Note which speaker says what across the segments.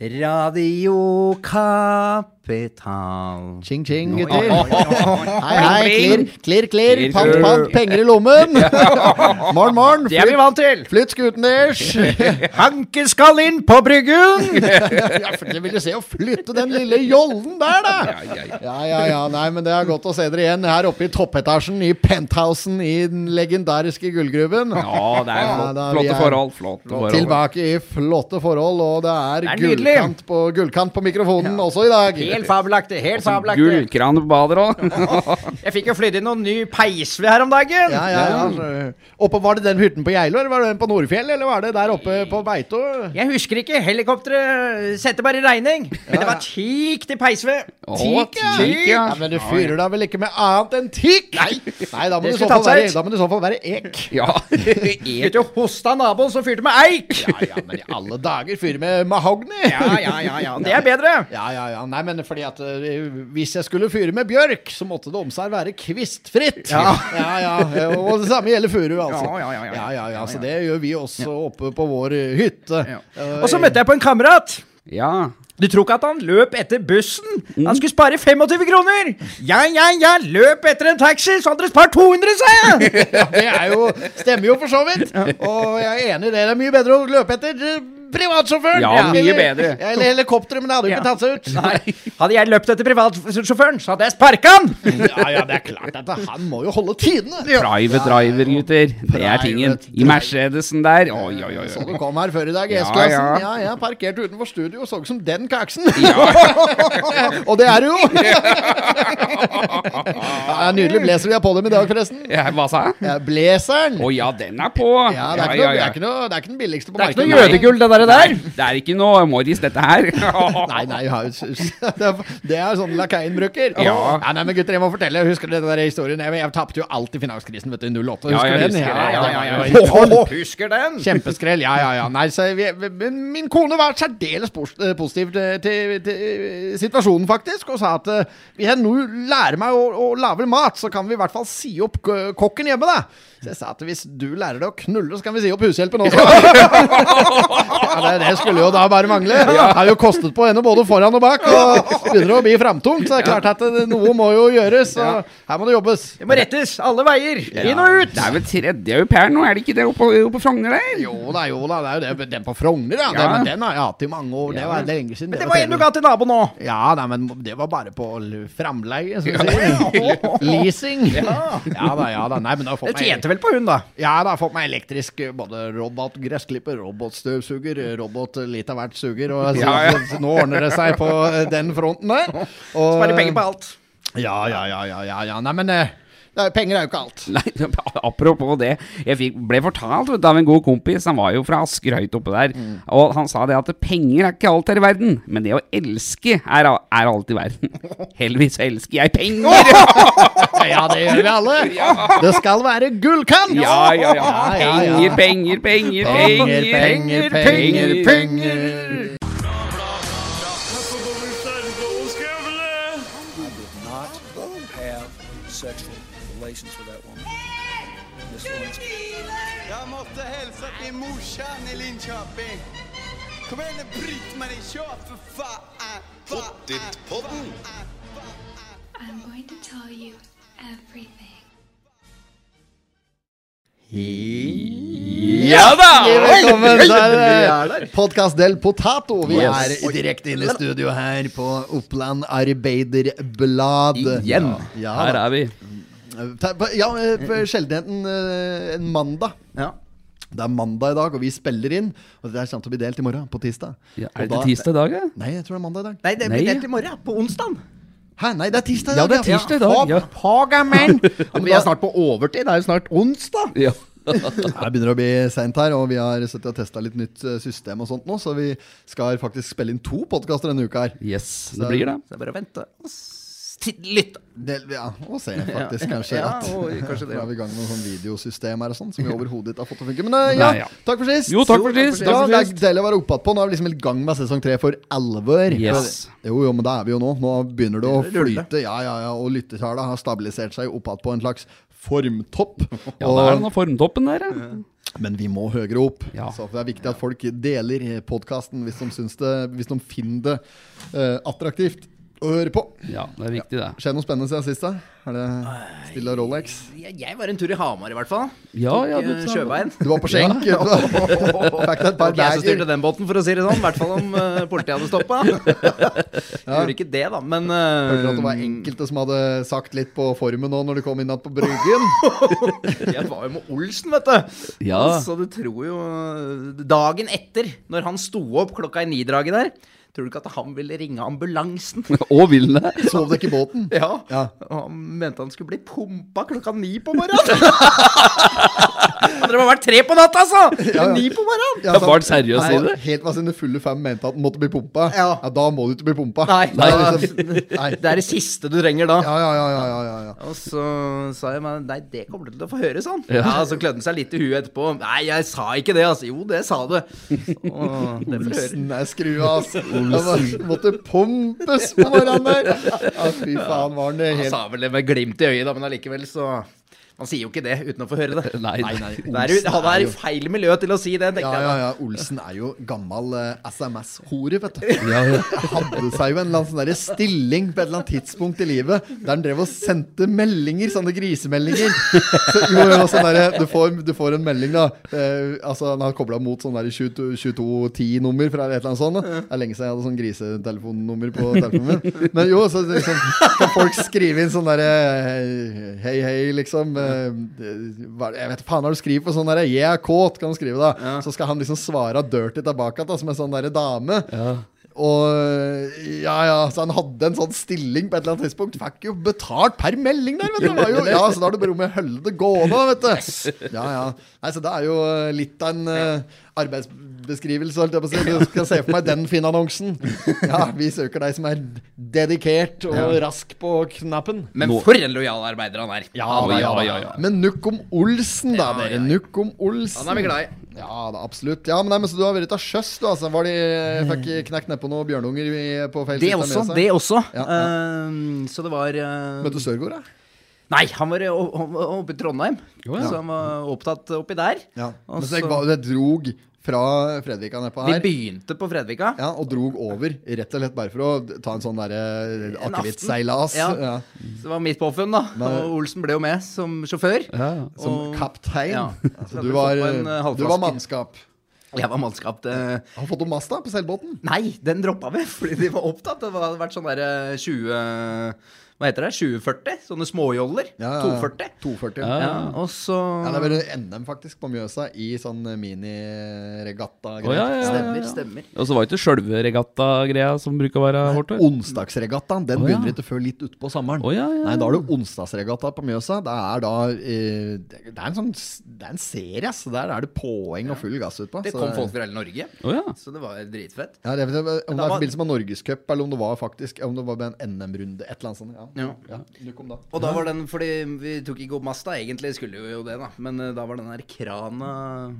Speaker 1: Radio Kapital.
Speaker 2: Ching, ching,
Speaker 1: Oi,
Speaker 2: gutter.
Speaker 1: oi, oi, oi.
Speaker 2: Hei, hei. Klirr, klirr, klirr.
Speaker 3: Klirr,
Speaker 2: Pant,
Speaker 3: klirr.
Speaker 2: pant. Penger i lommen. Morn, morn.
Speaker 3: Det er vi vant til!
Speaker 2: Flytt skuten deres.
Speaker 1: Hanke skal inn på bryggen!
Speaker 2: Ja, for Dere ville se å flytte den lille jollen der, da.
Speaker 3: Ja, ja,
Speaker 2: Ja, ja, ja. Nei, men det er godt å se dere igjen her oppe i toppetasjen i penthousen i den legendariske gullgruven.
Speaker 3: Ja, det er
Speaker 2: Ja,
Speaker 3: flott,
Speaker 2: da, vi
Speaker 3: flotte
Speaker 2: er-
Speaker 3: forhold. Flotte forhold.
Speaker 2: Tilbake i flotte forhold, og det er,
Speaker 1: Det er nydelig.
Speaker 2: gullkant, på, gullkant på mikrofonen også i dag.
Speaker 1: Helt fabelaktig. helt fabelaktig.
Speaker 3: Gullkran på badet òg.
Speaker 1: Jeg fikk jo flydd inn noen ny peisved her om dagen.
Speaker 2: Ja, ja, ja. Oppe, var det den hytten på Geilo, eller var det den på Nordfjell, eller var det der oppe på Beito?
Speaker 1: Jeg husker ikke. Helikopteret sendte bare regning. Men det var teak til peisved.
Speaker 3: Tikk, ja. Tikk, ja.
Speaker 2: Ja, men du fyrer da vel ikke med annet enn tikk? Nei, da, må
Speaker 1: Det
Speaker 2: du i så
Speaker 1: skulle
Speaker 2: fall
Speaker 1: tatt seg
Speaker 2: være,
Speaker 1: ut.
Speaker 2: da må du i så fall være ek.
Speaker 3: Ja.
Speaker 1: Gikk jo hosta naboen som fyrte med eik.
Speaker 2: Ja, ja, men i alle dager fyre med mahogni.
Speaker 1: Ja, ja, ja, ja. Det er bedre.
Speaker 2: Ja, ja, ja. Nei, men fordi at eh, hvis jeg skulle fyre med bjørk, så måtte det om seg være kvistfritt.
Speaker 1: Ja.
Speaker 2: ja, ja. Og det samme gjelder furu, altså.
Speaker 1: Ja, ja, ja, ja.
Speaker 2: ja, ja, ja. Så det gjør vi også oppe på vår eh, hytte.
Speaker 1: Ja.
Speaker 2: Eh,
Speaker 1: Og så møtte jeg på en kamerat.
Speaker 3: ja.
Speaker 1: Du tror ikke at han løp etter bussen? Han skulle spare 25 kroner! Ja, ja, ja, løp etter en taxi, så hadde dere spart 200, sa jeg!
Speaker 2: ja, Det er jo, stemmer jo for så vidt. Og jeg er enig i det. Det er mye bedre å løpe etter eh, privatsjåføren.
Speaker 3: Ja, mye bedre.
Speaker 2: Eller, eller helikopteret, men det hadde jo
Speaker 1: Ja.
Speaker 2: ikke tatt seg ut.
Speaker 1: Nei, hadde jeg løpt etter privatsjåføren, så hadde jeg sparka han!
Speaker 2: Ja, ja, det er klart at han må jo holde tidene.
Speaker 3: Private driver, gutter. Det er tingen.
Speaker 2: Private
Speaker 3: I Mercedesen der. Oi, oi, oi.
Speaker 2: Så du kom her før i dag,
Speaker 3: Ja,
Speaker 2: S-klassen. Ja,
Speaker 3: ja.
Speaker 2: ja. parkert utenfor studio og så ut som den kaksen. og det er du jo! ja, nydelig blazer vi har på dem i dag, forresten.
Speaker 3: Ja, hva sa jeg?
Speaker 2: Ja, Blazeren.
Speaker 3: Å ja, den er på.
Speaker 2: Ja, det er, ikke noe, det, er ikke noe, det er ikke den billigste på
Speaker 1: Det er ikke
Speaker 2: markedet.
Speaker 1: noe jødegull, det der. der.
Speaker 3: Nei, det er ikke noe Morris, dette her.
Speaker 2: Nei, nei, ja, det er- det er sånn lakeien bruker.
Speaker 3: Ja.
Speaker 2: nei, men gutter, jeg må fortelle. Husker dere den der historien? Jeg, jeg tapte jo alt i finanskrisen, vet du, i 08. Husker
Speaker 3: Ja, jeg
Speaker 2: du den?
Speaker 3: husker det, ja,
Speaker 2: det
Speaker 3: ja,
Speaker 2: var
Speaker 3: ja.
Speaker 2: jo-
Speaker 1: Husker den?
Speaker 2: Kjempeskrell, ja, ja, ja. Nei, så vi, vi- men min kone var særdeles pos- eh, positiv til, til, til eh, situasjonen, faktisk, og sa at eh, hvis jeg nå lærer meg å, å lage mat, så kan vi i hvert fall si opp k- kokken hjemme, da. Så jeg sa at hvis du lærer deg å knulle, så kan vi si opp hushjelpen også. ja, det, det skulle jo da bare mangle. Det har jo kostet på henne både foran og bak, og begynner å bli framtungt, så det er klart at eh, noe må jo gjøres, og her må det jobbes.
Speaker 1: Det må rettes alle veier. Inn og ut.
Speaker 3: Det er vel tredje au pair nå, er det ikke det oppe, oppe på Frogner der?
Speaker 2: Jo da, jo da, det er jo det, den på Frogner, ja.
Speaker 3: Ja.
Speaker 2: Den, men den har jeg hatt i mange år. Det var det er lenge siden.
Speaker 1: Men det var en du ga til naboen nå.
Speaker 2: Ja, nei, men det var bare på l- framleie, som vi sier. Leasing. Ja. da, ja da. Nei, men da
Speaker 1: Det
Speaker 2: fått meg
Speaker 1: tjente vel på hun, da.
Speaker 2: ja, da har jeg fått meg elektrisk eh, både robotgressklipper, robotstøvsuger, robot eh, litt av hvert suger, og så,
Speaker 3: Ja, ja.
Speaker 2: så nå ordner det seg på eh, den fronten der. Og,
Speaker 1: Sparer penger på alt.
Speaker 2: Ja, ja, ja, ja, ja, ja. Nei, men eh, det er- penger er jo ikke alt.
Speaker 3: Nei, apropos det. Jeg fikk, ble fortalt vet du, av en god kompis, han var jo fra Asker høyt oppe der, og han sa det at penger er ikke alt her i verden, men det å elske er, a- er alt i verden. Heldigvis elsker jeg penger!
Speaker 2: Ja, det gjør vi alle. Det skal være gullkant!
Speaker 3: Ja, ja, ja.
Speaker 2: Ja, ja, ja.
Speaker 3: Penger, penger, penger,
Speaker 2: Penger, penger, penger, penger.
Speaker 4: not have sexual relations with that woman. Miss Lewinsky.
Speaker 5: Jeg måtte hilse til morsan i Linköping. Kom igjen, Britt-Marie, kjør, for faen! Pottit-podden.
Speaker 6: I'm going to tell you everything.
Speaker 3: Ja da!
Speaker 1: er
Speaker 2: Velkommen til
Speaker 1: der.
Speaker 2: Podkast del Potato. Vi
Speaker 3: eh, Yes.
Speaker 2: er direkte inne i studio her på Oppland Arbeiderblad.
Speaker 3: Igjen.
Speaker 2: Ja,
Speaker 3: Her
Speaker 2: da.
Speaker 3: er vi.
Speaker 2: Ta- på- ja eh, på sjeldenheten eh, en mandag.
Speaker 1: Ja.
Speaker 2: Det er mandag i dag, og vi spiller inn. Og det er sant å bli delt i morgen, på tirsdag.
Speaker 3: Ja,
Speaker 2: Og
Speaker 3: er det
Speaker 2: da-
Speaker 3: tirsdag i dag, ja?
Speaker 2: Nei, jeg tror det er mandag i dag.
Speaker 1: Nei, det
Speaker 3: Nei,
Speaker 1: blir
Speaker 3: ja.
Speaker 1: delt i morgen. På onsdag.
Speaker 2: Hæ, nei, det er tirsdag i
Speaker 3: Ja,
Speaker 2: dag.
Speaker 3: det er tirsdag i dag,
Speaker 2: Hopp,
Speaker 3: ja.
Speaker 2: Poga, men. Ja, men
Speaker 1: Vi er
Speaker 2: da-
Speaker 1: snart på overtid. Det er jo snart onsdag.
Speaker 3: Ja.
Speaker 2: Ja, Det begynner å bli seint her, og vi har suttet og testa litt nytt eh, system og sånt nå, så vi skal faktisk spille inn to podkaster denne uka her.
Speaker 3: Yes, det blir det.
Speaker 1: Så det er bare å vente og s- titt- lytte.
Speaker 2: Det, ja, og se faktisk
Speaker 1: Ja,
Speaker 2: kanskje
Speaker 1: ja,
Speaker 2: at
Speaker 1: og kanskje det,
Speaker 2: Da
Speaker 1: ja.
Speaker 2: er vi i gang med noen sånn videosystem her og sånn, som vi overhodet ikke har fått til å funke. Men eh, ja,
Speaker 3: Nei, ja.
Speaker 2: takk for sist!
Speaker 3: Jo, takk for sist.
Speaker 2: Bra,
Speaker 3: Takk for
Speaker 2: det er
Speaker 3: sist.
Speaker 2: deilig å være oppe på. Nå er vi liksom i gang med sesong tre for alvor.
Speaker 3: Yes.
Speaker 2: Jo, jo, men det er vi jo nå. Nå begynner det å
Speaker 1: Det ruller.
Speaker 2: flyte. Ja, ja, ja. Og lyttertallet har stabilisert seg opp igjen på en slags formtopp.
Speaker 3: Ja, det er den formtoppen der, ja.
Speaker 2: Men vi må høyere opp.
Speaker 3: Ja.
Speaker 2: Så det er viktig at folk deler podkasten hvis, de syns det- hvis de finner det eh, attraktivt å høre på.
Speaker 3: Ja, det er viktig, det.
Speaker 2: Skjer noe spennende siden sist? da? Er det stille og Rolex?
Speaker 7: Jeg, jeg var en tur i Hamar, i hvert fall.
Speaker 3: Ja, ja,
Speaker 7: Tok, eh,
Speaker 3: du-
Speaker 7: Sjøveien.
Speaker 2: Du var på skjenk. Ja. Fikk deg et par
Speaker 7: Ikke jeg som
Speaker 2: bager.
Speaker 7: styrte den båten, for å si det sånn. I hvert fall om eh, politiet hadde stoppa. Gjorde ikke det, da, men eh,
Speaker 2: Hørte at det var enkelte som hadde sagt litt på formen nå når du kom inn igjen på bryggen.
Speaker 7: Jeg var jo med Olsen, vet du.
Speaker 3: Ja.
Speaker 7: Så du tror jo Dagen etter, når han sto opp klokka i ni-draget der, tror du ikke at han ville ringe ambulansen?
Speaker 3: Og vil det.
Speaker 2: Sov dere i båten?
Speaker 7: Ja.
Speaker 2: Ja.
Speaker 7: Og han mente han skulle bli pumpa klokka ni på morgenen. Hadde det bare vært tre på natta, altså!
Speaker 2: Ja, ja.
Speaker 7: Ni på morgenen.
Speaker 2: Ja,
Speaker 3: Det
Speaker 2: så-
Speaker 3: var seriøst i
Speaker 2: Nei,
Speaker 3: det.
Speaker 2: Helt hva sine fulle fem mente at den måtte bli pumpa.
Speaker 7: Ja.
Speaker 2: Da må du ikke bli pumpa.
Speaker 7: Nei.
Speaker 2: Det
Speaker 7: altså,
Speaker 2: er liksom, nei.
Speaker 7: Det er det siste du trenger da.
Speaker 2: Ja, ja, ja, ja, ja, ja, ja.
Speaker 7: Og så sa jeg meg Nei, det kommer du til å få høre, sa han. Ja.
Speaker 3: Ja.
Speaker 7: Så klødde han seg litt i huet etterpå. Nei, jeg sa ikke det, altså. Jo, det sa du. Og det får du høre.
Speaker 2: Olsen er skrua, ass. Den var- måtte pumpes på morgenen der. Ja, fy faen, var den
Speaker 7: Han
Speaker 2: helt
Speaker 7: sa vel det med glimt i øyet, da, men allikevel, så Man sier jo ikke det uten å få høre det.
Speaker 3: Nei, nei.
Speaker 7: Det er, jo- han er i feil miljø til å si det, tenkte
Speaker 2: ja,
Speaker 7: jeg.
Speaker 2: ja,
Speaker 7: da.
Speaker 2: ja. Olsen er jo gammel eh, SMS-hore, vet du. Hadde seg jo en eller annen sånn der stilling på et eller annet tidspunkt i livet der han drev og sendte meldinger, sånne grisemeldinger. Så, jo, jo, sånn der, du, får, du får en melding, da. Eh, altså, han har kobla mot sånn 2210-nummer fra et eller annet sånt. Da. Det er lenge siden jeg hadde sånn grisetelefonnummer på telefonen min. Men jo, så liksom, kan folk skrive inn sånn derre Hei, hei, liksom. eh, hva er det- Jeg vet faen hva du skriver på sånn derre Jeg er kåt, kan du skrive da. Så skal han liksom svare dirty tilbake da, som en sånn derre dame. Og ja, ja, så han hadde en sånn stilling på et eller annet tidspunkt. Fikk jo betalt per melding der, vet du. Det Var jo, ja, så da har du bare med holde det gående, vet du. Ja, ja. Nei, så det er jo eh, litt av en eh, arbeidsbeskrivelse, holdt jeg på å si. Du skal se for meg den fine annonsen. Ja, vi søker deg som er dedikert og rask på knappen.
Speaker 7: Men for en lojal arbeider han er.
Speaker 2: Ja, da, ja, da, ja, ja. Men nukk om Olsen, da,
Speaker 7: Ja,
Speaker 2: dere.
Speaker 7: ja, ja.
Speaker 2: Nukk om Olsen.
Speaker 7: Han er vi glad i.
Speaker 2: Ja, da, absolutt. Ja, men, nei, men Så du har vært av sjøs, du, altså? Var de, fikk knekt nedpå noen bjørnunger i, på feil
Speaker 7: Det
Speaker 2: side av
Speaker 7: også.
Speaker 2: Mjøsa?
Speaker 7: Det også.
Speaker 2: Ja,
Speaker 7: Eh, så det var eh,
Speaker 2: Møtte Sørgaard, da?
Speaker 7: Nei, han var eh, o- o- oppe i Trondheim.
Speaker 3: ja.
Speaker 7: Så han var opptatt oppi der.
Speaker 2: Ja.
Speaker 7: Og
Speaker 2: Men så
Speaker 7: så-
Speaker 2: jeg, ba- jeg drog fra Fredrika nedpå
Speaker 7: Vi
Speaker 2: her.
Speaker 7: begynte på Fredvika.
Speaker 2: Ja, og drog over, rett og slett bare for å ta en sånn derre
Speaker 7: En
Speaker 2: akevittseilas.
Speaker 7: aften.
Speaker 2: Ja.
Speaker 7: Ja. Så det var mitt påfunn, da.
Speaker 2: Nei.
Speaker 7: Og Olsen ble jo med som sjåfør.
Speaker 3: Ja.
Speaker 2: Som
Speaker 7: Og-
Speaker 2: kaptein.
Speaker 7: Ja.
Speaker 2: Så du var,
Speaker 7: Jeg hadde fått meg en, eh, halvflaske.
Speaker 2: du var mannskap.
Speaker 7: Jeg var mannskap. Det...
Speaker 2: Har du fått noe mast da på seilbåten?
Speaker 7: Nei, den droppa vi fordi de var opptatt. Det hadde vært sånn derre 20 Hva heter det? 2040? Sånne småjoller.
Speaker 2: Ja, ja, ja.
Speaker 7: 240.
Speaker 2: 240.
Speaker 7: Ja,
Speaker 2: Ja.
Speaker 7: og så
Speaker 2: det er vel NM faktisk på Mjøsa, i sånn miniregatta-greier.
Speaker 3: Å, ja, ja, ja.
Speaker 7: Stemmer, stemmer.
Speaker 3: Og så var det ikke sjølve regatta-greia som bruker å være, Hortvedt?
Speaker 2: Onsdagsregattaen den
Speaker 3: Å, ja.
Speaker 2: begynner ikke før litt utpå sommeren.
Speaker 3: Å, ja, ja, ja.
Speaker 2: Nei, Da er det onsdagsregatta på Mjøsa. Det er da eh, Det er en sånn Det er en serie, ass. Der er det poeng og full gass utpå.
Speaker 7: Det
Speaker 2: så-
Speaker 7: kom folk fra hele Norge,
Speaker 3: Å ja.
Speaker 7: så det var dritfett.
Speaker 2: Ja, det, om det er
Speaker 7: da
Speaker 2: i
Speaker 7: var-
Speaker 2: forbindelse med Norgescup, eller om det var faktisk Om det var med en NM-runde, et eller annet sånt. Ja.
Speaker 7: Ja.
Speaker 2: Ja, nok om det.
Speaker 7: Og da var den, fordi vi tok ikke opp masta, egentlig skulle vi jo det, da. Men eh, da var den der krana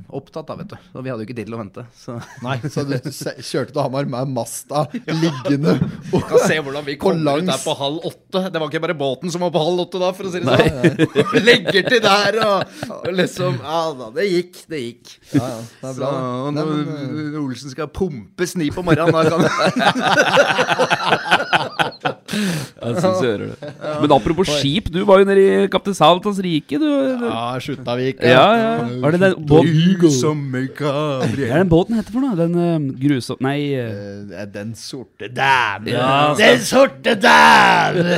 Speaker 7: opptatt, da, vet du. Og vi hadde jo ikke tid til å vente, så
Speaker 2: Nei, så du se- kjørte til Hamar med Masta liggende og
Speaker 7: Kan se hvordan vi
Speaker 2: På
Speaker 7: kommer ut
Speaker 2: langs-
Speaker 7: der på halv åtte. Det var ikke bare båten som var på halv åtte da, for å si det sånn. Legger til der og, og liksom Ja da, det gikk, det gikk.
Speaker 2: Ja, ja, det er
Speaker 7: Så,
Speaker 2: bra.
Speaker 7: og
Speaker 2: Nei,
Speaker 7: når
Speaker 2: men, eh,
Speaker 7: Olsen skal pumpes ni på morgenen, da kan
Speaker 3: Jeg synes jeg hører det. Men apropos skip, du var jo nede i Kaptein Saltas rike, du.
Speaker 2: eh, ja, Skjuttavik.
Speaker 3: Ja, ja. Hva er det den båten Hva er
Speaker 7: Sommerkabriet.
Speaker 3: den båten heter for noe? Den eh, grusom... Nei. eh,
Speaker 2: Eh, Den sorte dæven.
Speaker 3: Ja, altså.
Speaker 2: den sorte dæven!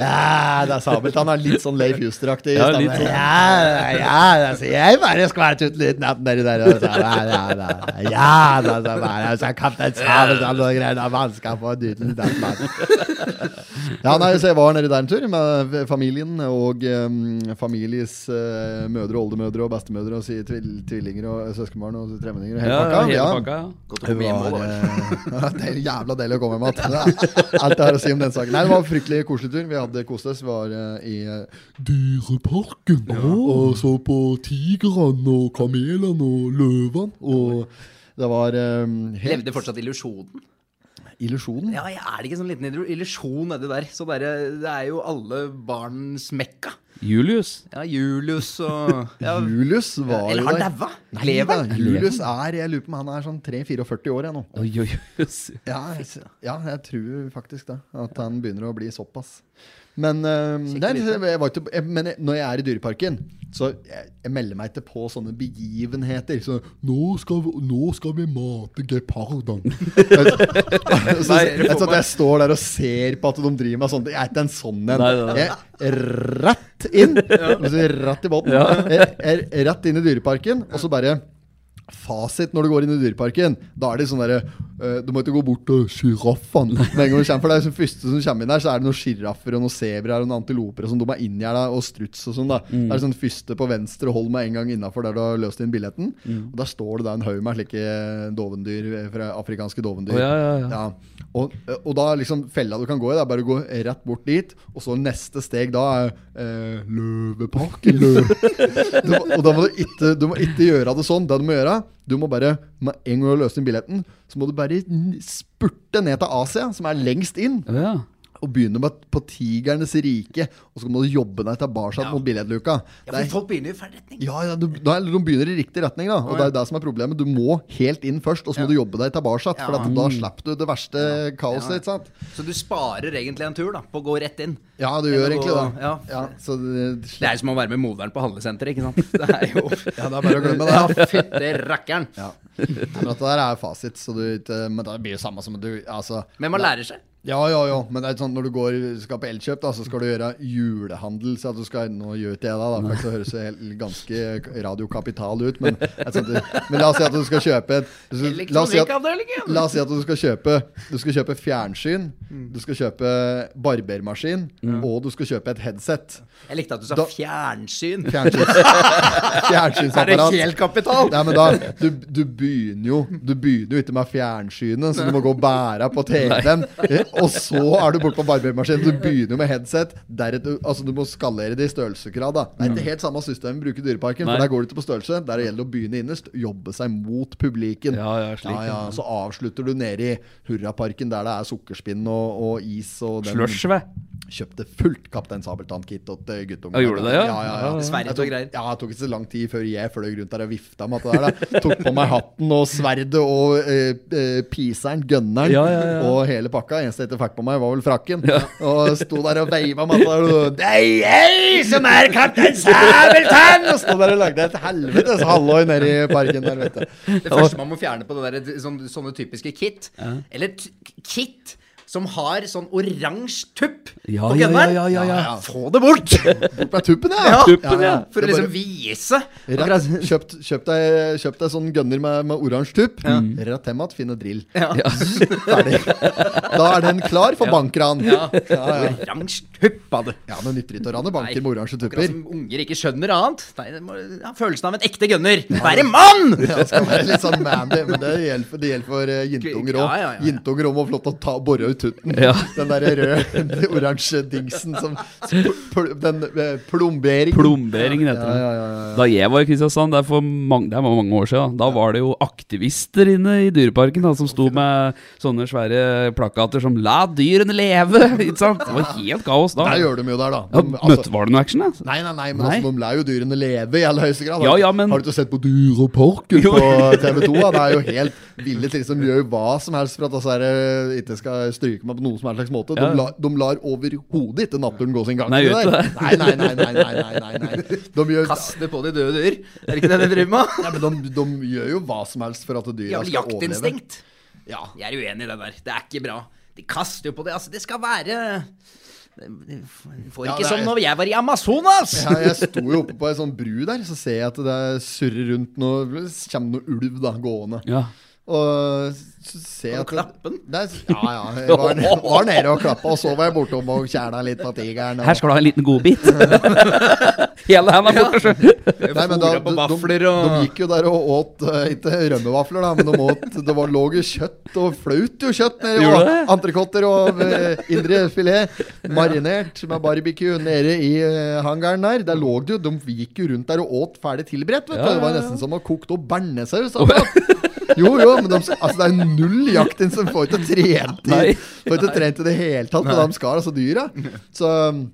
Speaker 2: Ja, det er sabelt. Han er litt sånn Leif Juster-aktig. i
Speaker 3: Ja,
Speaker 2: stemmen.
Speaker 3: litt sånn.
Speaker 2: ja, ja, altså, jeg bare skvært ut litt natt nedi der. og så, Ja, ja, ja, ja, da, så bare, så kaptein Sabelt og noe greier. da, Man skal få en liten natt, mann. Ja, nei, så jeg var nedi der en tur med familien og eh, families eh, mødre og oldemødre og bestemødre og si, tvil, tvillinger og søskenbarn og tremenninger og hele
Speaker 3: Ja, ja,
Speaker 2: pakka.
Speaker 3: hele
Speaker 2: Ja.
Speaker 3: pakka. ja.
Speaker 7: Godt
Speaker 2: Det
Speaker 7: opp i mål,
Speaker 2: var,
Speaker 7: da, vel.
Speaker 2: eh, det er jo jævla deilig å komme hjem igjen. Alt jeg har å si om den saken. Nei, det var en fryktelig koselig tur. Vi hadde kost oss. Vi var eh, i eh, Dyreparken og så på tigrene og kamelene og løvene. Og det var eh, helt
Speaker 7: Levde fortsatt illusjonen.
Speaker 2: illusjonen.
Speaker 7: eh, Ja, jeg er det ikke sånn liten illu- illusjon nedi der? Så der, det er jo alle barns mekka.
Speaker 3: Julius.
Speaker 7: Ja, Julius og ja,
Speaker 2: Julius var
Speaker 7: Eller
Speaker 2: jo
Speaker 7: har
Speaker 2: der.
Speaker 7: daua?
Speaker 2: Nei,
Speaker 7: Lever
Speaker 2: da, Julius er Jeg lurer på om han er sånn 3-44 år jeg, nå.
Speaker 3: Oi, oi, oi.
Speaker 2: Ja, jeg- ja, jeg tror faktisk det. At han begynner å bli såpass. Men, eh, nei, jeg var ikke, jeg, men jeg, når jeg er i Dyreparken, så jeg, jeg melder meg ikke på sånne begivenheter. Så, nå, skal vi, 'Nå skal vi mate geparden'. Så- så, jeg, så at jeg står der og ser på at de driver med sånt. Jeg er ikke en sånn en.
Speaker 3: Nei, nei, nei.
Speaker 2: Jeg Rett inn! Altså, rett i båten. Jeg, jeg, rett inn i Dyreparken, og så bare Fasit når du går inn i Dyreparken, da er det sånn derre eh, Du må ikke gå bort til sjiraffen. Med en gang du kommer, for det er liksom første som kommer inn der, så er det noen sjiraffer og noen sebraer og noen antiloper og sånn. De er inngjerda, og struts og sånn, da.
Speaker 3: Mm.
Speaker 2: Det er sånn første på venstre, hold meg en gang innafor der du har løst inn billetten.
Speaker 3: Mm.
Speaker 2: Og der står det da en haug med slike dovendyr, eh, fra afrikanske dovendyr.
Speaker 3: Å, ja, ja, ja.
Speaker 2: Ja. Og, og da er liksom fella du kan gå i, det er bare å gå rett bort dit, og så neste steg da er eh, Løveparken. Lø- du må, og da må du ikke, du må ikke gjøre det sånn. Det du må gjøre, du må bare med en gang du har løst inn billetten, så må du bare n- spurte ned til Asia, som er lengst inn,
Speaker 3: Å, ja.
Speaker 2: og begynne med på tigernes rike, og så må du jobbe deg tilbake mot billettluka.
Speaker 7: Ja,
Speaker 2: Det er
Speaker 7: for folk begynner jo i feil retning.
Speaker 2: ja, ja du, da, eller de begynner i riktig retning, da. Og det er det som er problemet. Du må helt inn først, og så må du jobbe deg tilbake. For at da slipper du det verste kaoset. Ikke sant?
Speaker 7: Så du sparer egentlig en tur da, på å gå rett inn.
Speaker 2: Ja, du
Speaker 7: Eller
Speaker 2: gjør egentlig
Speaker 7: gå-
Speaker 2: det.
Speaker 7: ja.
Speaker 2: så det,
Speaker 7: Det er jo som å være med moderen på handlesenteret, ikke sant? Det er jo
Speaker 2: ja, det er bare å glemme det.
Speaker 7: Ja, fytte rakkeren.
Speaker 2: Ja. Men at det der er fasit, så du ikke Men det blir jo samme som at du altså,
Speaker 7: Men man lærer seg.
Speaker 2: Ja, ja, ja. Men det er sånn, når du går, skal på Elkjøp, da, så skal du gjøre julehandel. Så at du skal, nå gjør ikke jeg det, da, for det høres jo helt- ganske radiokapital ut. Men, det er sånn, at du- men la oss si at du skal kjøpe et- du- La oss
Speaker 7: sånn
Speaker 2: si at,
Speaker 7: Elektronikkavdelingen.
Speaker 2: la oss si at du skal kjøpe Du skal kjøpe fjernsyn, du skal kjøpe barbermaskin, og du skal kjøpe et headset.
Speaker 7: Jeg likte at du sa
Speaker 2: Da-
Speaker 7: fjernsyn.
Speaker 2: Fjernsyns, fjernsynsapparat.
Speaker 7: kapital?
Speaker 2: Nei, men da, du, du begynner jo Du begynner jo ikke med fjernsynet, så du må gå og bære på TV-en. Eh, Og så er du borte på barbermaskinen. Du begynner jo med headset. Deretter, altså Du må skalere det i størrelsesgrad. da. Det er ikke helt samme system vi bruker i Dyreparken,
Speaker 3: Nei.
Speaker 2: for der går det ikke på størrelse. Der gjelder det å begynne innerst, jobbe seg mot publiken.
Speaker 3: Ja, ja, slik,
Speaker 2: ja, ja. Så avslutter du nede i Hurraparken, der det er sukkerspinn og, og is og den-
Speaker 3: Slush, hva?
Speaker 2: kjøpte fullt Kaptein Sabeltann-kit til guttungen.
Speaker 3: Ja, gjorde du det, ja?
Speaker 2: Ja, ja, ja.
Speaker 7: Sverre
Speaker 2: Jeg
Speaker 7: tok greier.
Speaker 2: Ja, det tok ikke så lang tid før jeg fløy rundt der og vifta med alt det der. da. Tok på meg hatten og sverdet og eh, eh, piseren, gønneren,
Speaker 3: Ja, ja, ja.
Speaker 2: og hele pakka. Eneste jeg ikke fikk på meg, var vel frakken. Og sto der og veiva med alt det der. og, Det er jeg som er Kaptein Sabeltann! Og sto der og lagde et helvetes halloi nede i parken der, vet du.
Speaker 7: Det første man må fjerne på det der, sånn, sånne typiske kit, eller t kit som har sånn oransje tupp
Speaker 3: Ja,
Speaker 7: på
Speaker 3: ja,
Speaker 7: gunneren.
Speaker 3: ja, ja, ja.
Speaker 7: Få det bort!
Speaker 2: Bort med tuppen,
Speaker 7: Ja,
Speaker 3: tuppen, ja.
Speaker 7: For
Speaker 2: Det er
Speaker 7: å liksom
Speaker 2: bare-
Speaker 7: vise.
Speaker 2: Rett, kjøpt, kjøpt, deg, kjøpt deg sånn gunner med, med oransje tupp.
Speaker 3: Mm.
Speaker 2: Rett hjem igjen, finn en drill.
Speaker 7: Ja.
Speaker 2: Ferdig. Da er den klar for bankran. Ja, ja.
Speaker 7: Oransje tupp av det.
Speaker 2: ja, men nytter ikke å rane banker
Speaker 7: Nei,
Speaker 2: med oransje
Speaker 7: Akkurat
Speaker 2: tupper.
Speaker 7: som unger ikke skjønner annet. Nei, det må, ja, følelsen av en ekte gunner. Være mann!
Speaker 2: Ja, det skal være litt sånn mandy, men det gjelder for, det gjelder for eh, jintunger òg.
Speaker 7: Ja, ja, ja, ja.
Speaker 2: Jintunger òg må få lov til å ta, bore ut tutten.
Speaker 3: Ja.
Speaker 2: Den der røde, oransje dingsen som pl, pl, Den eh, plomberingen.
Speaker 3: Plomberingen heter
Speaker 2: Ja,
Speaker 3: det.
Speaker 2: ja, ja, ja.
Speaker 3: Da jeg var i Kristiansand, det er, for mange, det er mange år siden, da, da var det jo aktivister inne i dyreparken da, som sto med sånne svære plakater som 'La dyrene leve'! Ikke sant? Det var helt kaos da.
Speaker 2: Der
Speaker 3: Ja,
Speaker 2: gjør de jo der, da. altså, De,
Speaker 3: møtte, var det noe action, da?
Speaker 2: Nei, nei, nei, men
Speaker 3: Nei.
Speaker 2: Altså, de lar jo dyrene leve i aller høyeste grad. Har
Speaker 3: Ja,
Speaker 2: du-
Speaker 3: ja, men-
Speaker 2: Har du ikke sett på Dyreparken
Speaker 3: Jo.
Speaker 2: på TV 2? Da? Det er jo helt ville ting som gjør hva som helst for at disse her, eh, ikke skal stryke meg på noen som helst slags måte.
Speaker 3: Ja.
Speaker 2: De, lar- de lar overhodet ikke naturen gå sin gang.
Speaker 3: Nei,
Speaker 2: til
Speaker 3: gjør
Speaker 2: der.
Speaker 3: ikke det.
Speaker 2: Nei, nei, nei, nei, nei, nei, nei, nei. De gjør,
Speaker 7: Kaste på de døde dyr. Er det ikke det de driver med?
Speaker 2: ja, men de, de gjør jo hva som helst for at dyra
Speaker 7: Ja,
Speaker 2: skal overleve.
Speaker 7: jaktinstinkt.
Speaker 2: Ja,
Speaker 7: Jeg er uenig i det der. Det er ikke bra. De kaster jo på det. Altså, det skal være Det får
Speaker 2: Ja,
Speaker 7: ikke
Speaker 2: det er-
Speaker 7: som når jeg var i Amazonas!
Speaker 2: ja, jeg sto jo oppe på ei sånn bru der, så ser jeg at det surrer rundt noe Så kommer noe ulv da, gående.
Speaker 3: Ja.
Speaker 2: Og så ser jeg
Speaker 7: Var
Speaker 2: at
Speaker 7: det klappen?
Speaker 2: Nei, s- ja, ja. Jeg var, nede- var nede og klappa, og så var jeg bortom og kjerna litt på tigeren.
Speaker 3: Her
Speaker 2: Og,
Speaker 3: skal du ha en liten godbit. Hele handa borte, sjø.
Speaker 2: nei, men da,
Speaker 7: Fôret på vafler og-
Speaker 2: de gikk jo der og åt eh, ikke rømmevafler, da, men de åt Det var, lå jo kjøtt og flaut jo kjøtt nedi.
Speaker 3: Gjorde
Speaker 2: Og
Speaker 3: det?
Speaker 2: entrecôter og eh, indre filet marinert med barbecue nede i eh, hangaren der. Der lå det jo De gikk jo rundt der og åt ferdig tilberedt. Vet du.
Speaker 3: Ja,
Speaker 2: Det var
Speaker 3: ja, ja.
Speaker 2: nesten som å koke opp bearnéssaus. Jo, jo, men de, altså, det er null jaktin som får ikke trent i
Speaker 3: Nei.
Speaker 2: Får ikke trent i det hele tatt, men de skal altså dyra. Så um,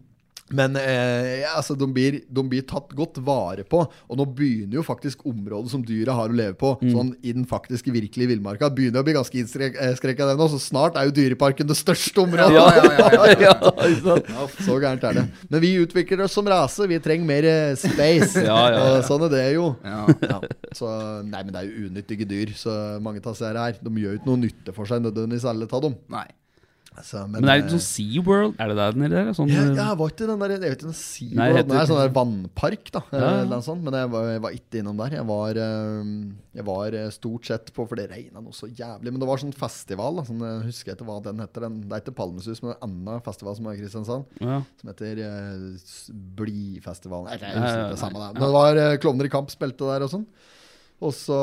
Speaker 2: Men eh, altså, de, blir, de blir tatt godt vare på, og nå begynner jo faktisk området som dyra har å leve på,
Speaker 7: Mm.
Speaker 2: sånn i den faktiske virkelige villmarka, begynner å bli ganske eh, innskrekka, den òg. Så snart er jo Dyreparken det største området!
Speaker 7: Ja, ja, ja, ja, ja.
Speaker 2: Så gærent er det. Men vi utvikler oss som rase. Vi trenger mer eh, space.
Speaker 3: Ja, ja, ja.
Speaker 2: Og Sånn er det jo.
Speaker 7: Ja.
Speaker 2: Ja. Så, nei, men det er jo unyttige dyr. Så mange av disse her, de gjør jo ikke noe nytte for seg nødvendigvis, alle av dem.
Speaker 7: Nei.
Speaker 2: Så,
Speaker 3: Men det
Speaker 2: eh,
Speaker 3: er jo sånn SeaWorld, er det der den er? Sånn,
Speaker 2: ja, ja, var ikke den der Jeg vet ikke, Sivo
Speaker 3: Nei, det heter-
Speaker 2: Den er sånn der vannpark, da.
Speaker 3: ja.
Speaker 2: Eller noe sånt. Men jeg var, jeg var ikke innom der. Jeg var, eh, jeg var eh, stort sett på For det regna noe så jævlig. Men det var sånn festival. Da, sånn, jeg husker ikke hva den heter. Den, det er ikke Palmesus, men en annen festival som er i Kristiansand.
Speaker 3: ja.
Speaker 2: Som heter eh, S- Blidfestivalen. Nei, jeg
Speaker 3: Ja,
Speaker 2: husker
Speaker 3: ja,
Speaker 2: ikke det samme
Speaker 3: nei.
Speaker 2: der. Men det var eh, Klovner i kamp spilte der og sånn. Og så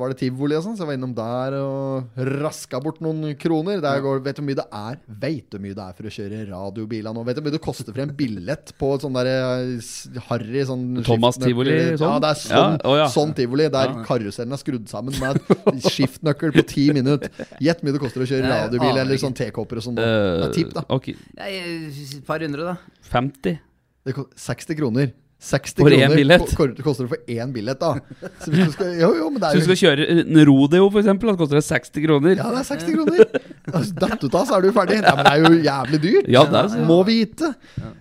Speaker 2: var det tivoli og sånn, så jeg var innom der og raska bort noen kroner. Der går, vet du hvor mye det er Vet du hvor mye det er for å kjøre radiobiler nå? Vet du hvor mye det koster for en billett på et sånn der eh, s- harry sånn
Speaker 3: Thomas
Speaker 2: skiftenøkkel-
Speaker 3: Tivoli,
Speaker 2: Ja,
Speaker 3: sånn?
Speaker 2: det er sånn,
Speaker 3: Ja, å ja.
Speaker 2: sånn tivoli der karusellen er skrudd sammen med et skiftenøkkel på ti minutter. Gjett hvor mye det koster å kjøre
Speaker 7: Nei,
Speaker 2: radiobil
Speaker 7: aner
Speaker 2: eller
Speaker 7: ikke.
Speaker 2: sånn tekopper og sånn. nå. Det
Speaker 3: Ah, Eh,
Speaker 2: er tipp, da.
Speaker 3: ok,
Speaker 7: Nei, eh, Et par hundre, da.
Speaker 3: 50.
Speaker 2: Det ko- 60 kroner. 60
Speaker 3: For én
Speaker 2: kroner
Speaker 3: billett?
Speaker 2: ko- kor- koster det for én billett, da. Så hvis du skal, jo, jo, men det
Speaker 3: Så
Speaker 2: er
Speaker 3: hvis du
Speaker 2: jo
Speaker 3: skal kjøre en rodeo, for eksempel, da koster det 60 kroner.
Speaker 2: Ja, det er 60 kroner! Altså, Datt ut av, så er du ferdig. Nei, men det er jo jævlig dyrt.
Speaker 3: Ja, det er så-
Speaker 2: Må vite.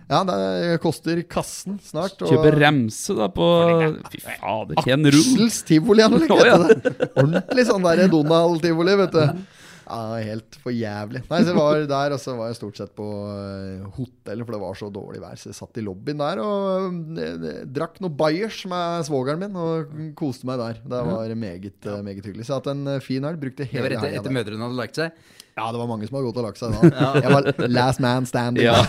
Speaker 2: Ja, det er- koster kassen snart. og-
Speaker 3: Kjøpe remse, da, på Fy fader, Ken Rull.
Speaker 2: Aksels tivoli, han liker
Speaker 3: Å, ja.
Speaker 2: det. Ordentlig sånn der Donald-tivoli, vet du. Ja, helt for jævlig. Nei, så jeg var der, og så var jeg stort sett på eh, hotellet, for det var så dårlig vær. Så jeg satt i lobbyen der og eh, drakk noe bayers med svogeren min og koste meg der. Det var meget, eh, meget hyggelig. Så jeg har hatt en eh, fin helg. Brukte
Speaker 7: Det
Speaker 2: hele
Speaker 7: var etter,
Speaker 2: helga
Speaker 7: etter
Speaker 2: der.
Speaker 7: mødrene hadde lagt seg.
Speaker 2: Ja, det var mange som hadde gått og lagt seg da. Jeg var last man standing.
Speaker 3: Ja.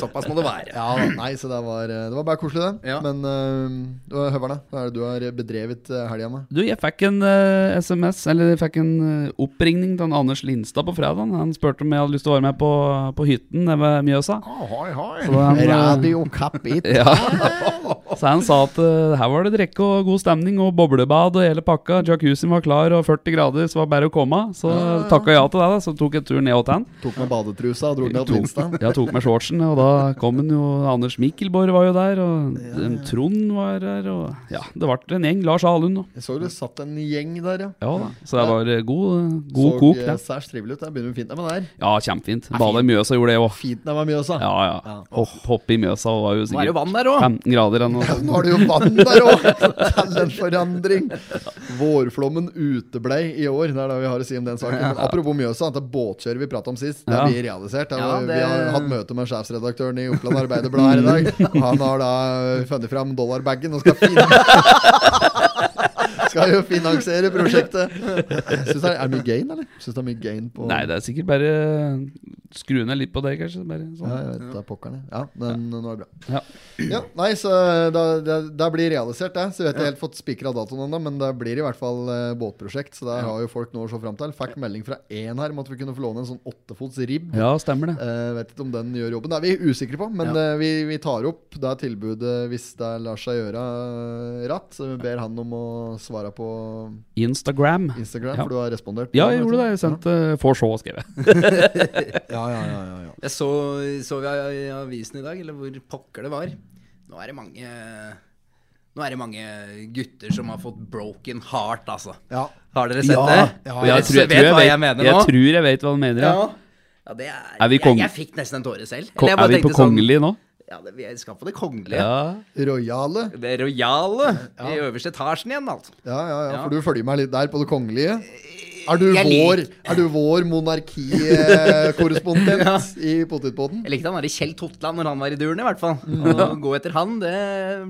Speaker 7: Såpass må det være.
Speaker 2: Ja, nei, så det var, eh, det var bare koselig, det.
Speaker 7: Ja.
Speaker 2: Men uh, Høverne, hva er det du har bedrevet eh, helga med?
Speaker 3: Du, jeg fikk en eh, SMS, eller jeg fikk en eh, oppringning til han Anders Lindstad på fredag. Han spurte om jeg hadde lyst til å være med på, på hytten nede ved Mjøsa. Så han, eh,
Speaker 2: Radio Kapital.
Speaker 3: ja. Så han sa at eh, her var det drikke og god stemning og boblebad og hele pakka. Jacuzzien var klar og 40 grader, så var det bare å komme. Så takka jeg ja til det, da. Så tok jeg en tur ned til han.
Speaker 2: Tok med badetrusa og dro ned til Lindstad.
Speaker 3: Jeg tok med shortsen, og da kom han jo Anders Mikkelborg var jo der, og en Trond var der, og ja, det ble en gjeng. Lars Alund og
Speaker 2: Jeg så det satt en gjeng der, ja.
Speaker 3: Ja da. Så det var eh, god, eh, god
Speaker 2: så
Speaker 3: kok,
Speaker 2: eh,
Speaker 3: det.
Speaker 2: særs trivelig ut. Det begynner fint der, men det er
Speaker 3: Ja, kjempefint. Bada i Mjøsa gjorde det òg.
Speaker 2: fint der med Mjøsa.
Speaker 3: Ja, ja. Hopp, hopp i Mjøsa var jo
Speaker 7: Nå er det jo
Speaker 3: sikkert
Speaker 7: vann der òg.
Speaker 3: 15 grader eller noe.
Speaker 2: Nå er det jo vann der òg! Kall en forandring. Vårflommen uteblei i år. Det er det vi har å si om den saken. Men apropos Mjøsa, det båtkjøret vi prata om sist, det
Speaker 3: Ja.
Speaker 2: blir realisert. Det er-
Speaker 7: Ja, det-
Speaker 2: Vi har hatt møte med sjefsredaktøren i Oppland Arbeiderblad her i dag. Han har da eh, funnet fram dollarbagen og skal finne Skal jo finansiere prosjektet. Syns det er, er det mye gain, eller? Syns det er mye gain på
Speaker 3: Nei, det er sikkert bare eh, skru ned litt på det, kanskje. Bare
Speaker 2: Ja,
Speaker 3: sånn.
Speaker 2: jeg vet det er pokkerne. Ja, den, nå er det bra.
Speaker 3: Ja.
Speaker 2: Ja, nei, så da, da, da blir realisert det. Så jeg vet ikke helt fått spikra datoen ennå, men det blir i hvert fall eh, båtprosjekt. Så der har jo folk noe å se fram til. Fikk melding fra én her om at vi kunne få låne en sånn åttefots ribb.
Speaker 3: ja, stemmer det.
Speaker 2: Eh, vet ikke om den gjør jobben. Det er vi usikre på, men eh, vi, vi tar opp det tilbudet hvis det lar seg gjøre eh, ratt. Så vi ber han om å svare på
Speaker 3: Instagram.
Speaker 2: Instagram,
Speaker 3: Ja.
Speaker 2: for du har respondert.
Speaker 3: Ja, jeg gjorde det. Jeg sendte Får se, skrev jeg.
Speaker 2: Ja, ja, ja, ja, ja.
Speaker 7: Jeg så, så vi i avisen i dag, eller hvor pokker det var. Nå er det mange Nå er det mange gutter som har fått broken heart, altså.
Speaker 2: ja.
Speaker 7: Har dere sett
Speaker 2: Ja.
Speaker 7: det?
Speaker 2: Ja,
Speaker 3: Og Jeg tror jeg, tror
Speaker 7: vet
Speaker 3: jeg,
Speaker 7: hva
Speaker 3: vet,
Speaker 7: jeg mener
Speaker 3: jeg
Speaker 7: nå.
Speaker 3: tror jeg vet hva du mener, ja.
Speaker 7: ja. ja, det er,
Speaker 3: Er vi kong-
Speaker 7: jeg, jeg fikk nesten en tåre selv.
Speaker 3: Ko-
Speaker 7: Eller jeg bare
Speaker 3: Er vi på
Speaker 7: tenkte sånn-
Speaker 3: kongelig nå?
Speaker 7: Ja, det, vi skal på det kongelige.
Speaker 3: Ja.
Speaker 2: Royale.
Speaker 7: Det rojale i øverste etasjen igjen, altså.
Speaker 2: Ja, ja, ja, for du følger meg litt der på det kongelige. Er du
Speaker 7: Eh, Jeg
Speaker 2: vår,
Speaker 7: liker-
Speaker 2: er du vår monarkikorrespondent i Potetpodden?
Speaker 7: Jeg likte han der i Kjell Totland når han var i duren, i hvert fall. Å gå etter han, det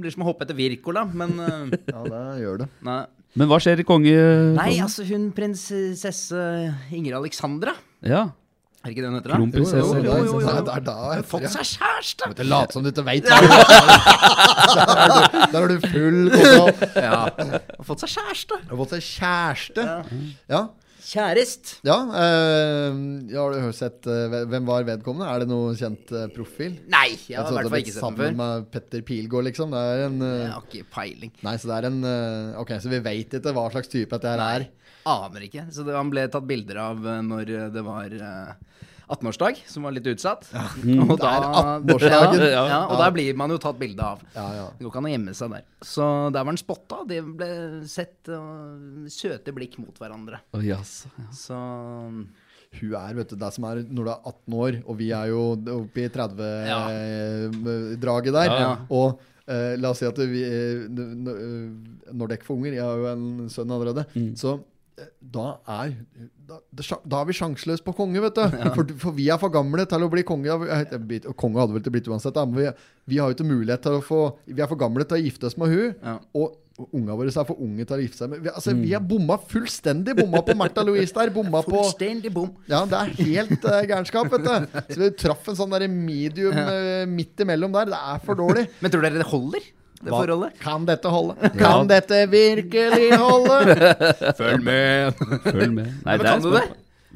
Speaker 7: blir som å hoppe etter Wirkola, men eh,
Speaker 2: Ja, det gjør det.
Speaker 7: nei.
Speaker 3: Men hva skjer i konge...
Speaker 7: nei, altså hun prinsesse Ingrid Alexandra,
Speaker 3: Ja.
Speaker 7: er det ikke det hun heter? da?
Speaker 2: Jo,
Speaker 3: Kronprinsesse.
Speaker 2: jo,
Speaker 3: eller
Speaker 2: jo, jo,
Speaker 3: prinsesse.
Speaker 2: Det er da jeg
Speaker 7: Fått seg kjæreste!
Speaker 2: Du later som du ikke veit. Der er du- der har du full kontroll.
Speaker 7: Har fått seg kjæreste!
Speaker 2: Du har fått seg kjæreste. Ja.
Speaker 7: Kjærest!
Speaker 2: ja, eh, ja har du sett eh, Hvem var vedkommende? Er det noe kjent eh, profil?
Speaker 7: Nei, jeg
Speaker 2: Altså, det
Speaker 7: har i hvert
Speaker 2: har
Speaker 7: fall
Speaker 2: blitt
Speaker 7: ikke sett
Speaker 2: sammen
Speaker 7: den før.
Speaker 2: med Petter Pilgaard, liksom. Det er en eh,
Speaker 7: Jeg har ikke peiling.
Speaker 2: Nei, så det er en eh, Ok, så vi veit ikke hva slags type dette her er.
Speaker 7: Aner ikke. Så det, han ble tatt bilder av eh, når eh, det var eh, 18-årsdag, som var litt utsatt. Og
Speaker 2: Mm. Det er
Speaker 7: da,
Speaker 2: 18-årsdagen.
Speaker 7: Ja, ja,
Speaker 2: Ja.
Speaker 7: og der blir man jo tatt bilde av.
Speaker 2: Ja, ja.
Speaker 7: Det går ikke an å gjemme seg der. Så der var han spotta. De ble sett og søte blikk mot hverandre.
Speaker 3: Å, jaså, ja.
Speaker 7: Så
Speaker 2: Hun er, vet du, deg som er når du er 18 år, og vi er jo oppe i 30-draget der.
Speaker 7: Ja.
Speaker 2: Og eh, la oss si at vi, eh, n- n- eh, når dere får unger, jeg har jo en sønn allerede,
Speaker 7: Mm.
Speaker 2: så eh, da er, da, det sja- da er vi sjanseløse på konge, vet du. For, for vi er for gamle til å bli konge. av- eh, bit- Og konge hadde vel ikke blitt uansett, da, men vi, vi har jo ikke mulighet til å få Vi er for gamle til å gifte oss med hun.
Speaker 7: Ja. Mm.
Speaker 2: Og unga våre er for unge til å gifte seg med vi, altså, vi har bomma fullstendig. Bomma på Märtha Louise der. Bomma på
Speaker 7: Fullstendig bom.
Speaker 2: ja, det er helt uh, gærenskap, vet du. Så vi traff en sånn der medium eh, midt imellom der. Det er for dårlig.
Speaker 7: Men tror dere det holder, det forholdet?
Speaker 2: Kan dette holde? Kan dette virkelig holde?
Speaker 7: Følg med!
Speaker 3: Følg med. Nei,
Speaker 7: men kan du det?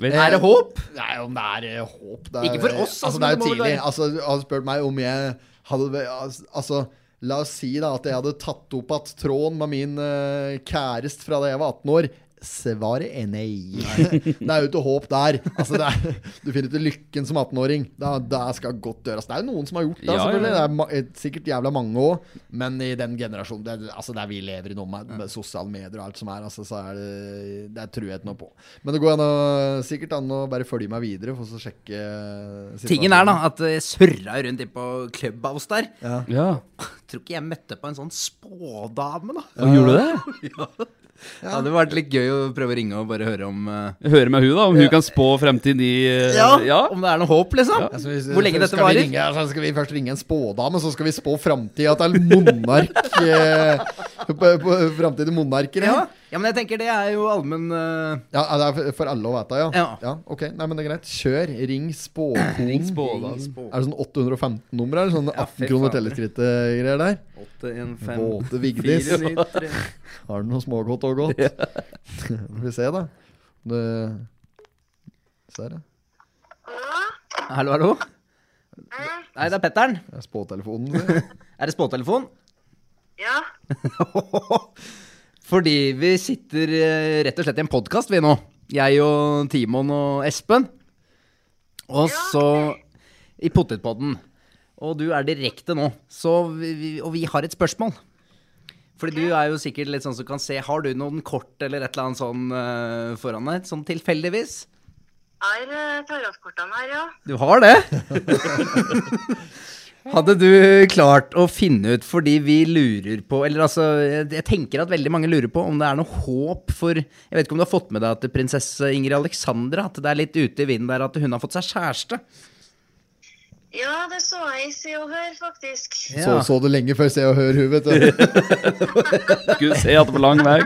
Speaker 3: Vet,
Speaker 7: Er det håp?
Speaker 2: Nei, om det er eh, håp det er,
Speaker 7: Ikke for oss, altså,
Speaker 2: altså. Det er
Speaker 7: men det
Speaker 2: jo
Speaker 7: må vel
Speaker 2: tidlig.
Speaker 7: være-
Speaker 2: Altså, du har spurt meg om jeg hadde Altså, la oss si da at jeg hadde tatt opp at tråden med min eh, kjæreste fra da jeg var 18 år. Svaret er nei. Det er jo ikke håp der. Altså, det er, du finner ikke lykken som 18-åring. Det, det skal godt gjøres. Det er jo noen som har gjort det,
Speaker 3: Ja, ja,
Speaker 2: selvfølgelig.
Speaker 3: ja.
Speaker 2: Det er ma eh, sikkert jævla mange òg. Men i den generasjonen det, altså der vi lever i nå, med, med sosiale medier og alt som er, altså, så er det, det er truet nå på. Men det går an å, sikkert an å bare følge meg videre for å sjekke eh, situasjonen.
Speaker 7: Tingen er da at jeg surra rundt inn på Clubhouse der.
Speaker 3: ja.
Speaker 7: Tror ikke jeg møtte på en sånn spådame, da.
Speaker 3: Og gjorde du det?
Speaker 7: Det hadde vært litt gøy å prøve å ringe og bare høre om eh,
Speaker 3: Høre med hun da, om hun kan spå fremtiden i eh, ja.
Speaker 7: Om det er noe håp, liksom.
Speaker 2: Altså, hvis-
Speaker 7: Hvor lenge
Speaker 2: så
Speaker 7: dette
Speaker 2: skal vi
Speaker 7: varer.
Speaker 2: ringe- altså, skal vi først ringe en spådame, så skal vi spå framtida til monark eh, på- på- Framtidige monarker?
Speaker 7: Ja.
Speaker 2: Ja.
Speaker 7: ja, men jeg tenker det er jo allmenn eh,
Speaker 2: ja, det er for- for alle å vite, ja.
Speaker 7: Ja.
Speaker 2: Ok, nei, men det er greit. Kjør. Ring spåkon.
Speaker 3: Ring spådame.
Speaker 2: Er det sånn 815-nummer? Er det sånn 18
Speaker 7: fy
Speaker 2: kroner
Speaker 7: faen.
Speaker 2: telleskrittet-greier der?
Speaker 7: 815
Speaker 2: Våte Vigdis.
Speaker 7: 493.
Speaker 2: Har du noe smågodt og godt? Får vi se, da. Det... Ser jeg.
Speaker 7: Hallo, hallo. Nei, det er Petter'n.
Speaker 2: Det er spåtelefonen. sier jeg.
Speaker 7: Er det spåtelefon?
Speaker 8: Ja,
Speaker 7: Fordi vi sitter eh, rett og slett i en podkast, vi nå. Jeg og Timon og Espen. Og så i Potetpodden. Og du er direkte nå. Så vi, vi- og vi har et spørsmål. Fordi du er jo sikkert litt sånn som kan se Har du noen kort eller et eller annet sånn eh, foran deg? Sånn tilfeldigvis?
Speaker 8: er eh, tarotkortene her, ja.
Speaker 7: Du har det? Hadde du klart å finne ut, fordi vi lurer på Eller altså, jeg jeg tenker at veldig mange lurer på om det er noe håp for Jeg vet ikke om du har fått med deg at prinsesse Ingrid Alexandra At det er litt ute i vinden der at hun har fått seg kjæreste.
Speaker 8: Ja, det så jeg i Se og Hør, faktisk.
Speaker 2: Så, så det lenge før Se og Hør hun, vet du.
Speaker 3: Skulle se at det var lang vei.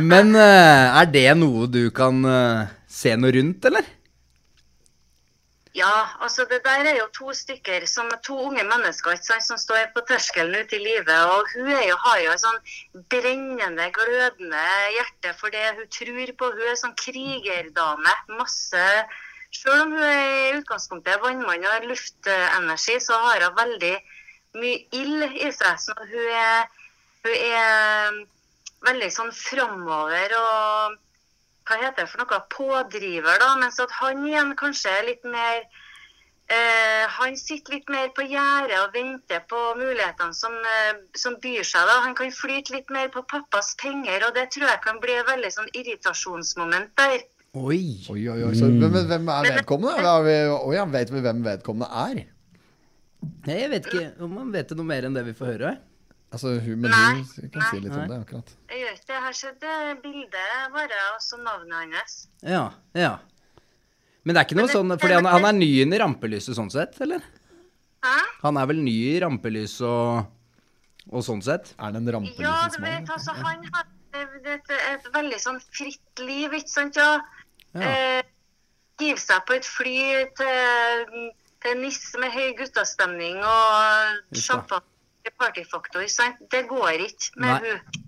Speaker 7: Men eh, er det noe du kan eh, se noe rundt, eller?
Speaker 8: Ja, altså det der er jo to stykker, som er to unge mennesker ikke sant, som står på terskelen ute i livet. Og hun er jo, har jo et sånn brennende, glødende hjerte for det hun tror på. Hun er sånn krigerdame. Masse Selv om hun er i utgangspunktet er vannmann og har luftenergi, så har hun veldig mye ild i seg. Så hun er, hun er eh, veldig sånn framover og hva heter det for noe, pådriver, da, mens at han igjen kanskje er litt mer eh, Han sitter litt mer på gjerdet og venter på mulighetene som, eh, som byr seg. da. Han kan flyte litt mer på pappas penger, og det tror jeg kan bli et veldig sånn irritasjonsmoment der.
Speaker 7: Oi.
Speaker 2: Oi, oi, oi. Så, men, men hvem er vedkommende? Da har vi, oi, ja, vet vi hvem vedkommende er?
Speaker 7: Nei, Jeg vet ikke om man vet noe mer enn det vi får høre.
Speaker 2: Altså, hun, men
Speaker 8: Nei.
Speaker 2: hun kan si litt om det, akkurat.
Speaker 8: Jeg gjør ikke det. Her skjedde bildet bare, og så navnet hans.
Speaker 7: Ja, ja. Men det er ikke noe sånn Fordi han, han er ny inn i rampelyset sånn sett, eller?
Speaker 8: Hæ?
Speaker 7: Han er vel ny i rampelys og, og sånn sett.
Speaker 2: Er det en liksom,
Speaker 8: Ja, du
Speaker 2: rampelysens mann?
Speaker 8: vet, altså, han har levd et, et veldig sånn fritt liv, ikke sant? Ja. Eh, Give seg på et fly til, til Niss med høy guttastemning og
Speaker 7: Just da.
Speaker 8: champagne partyfaktor, ikke sant? Det går ikke med
Speaker 7: Nei.
Speaker 8: hun.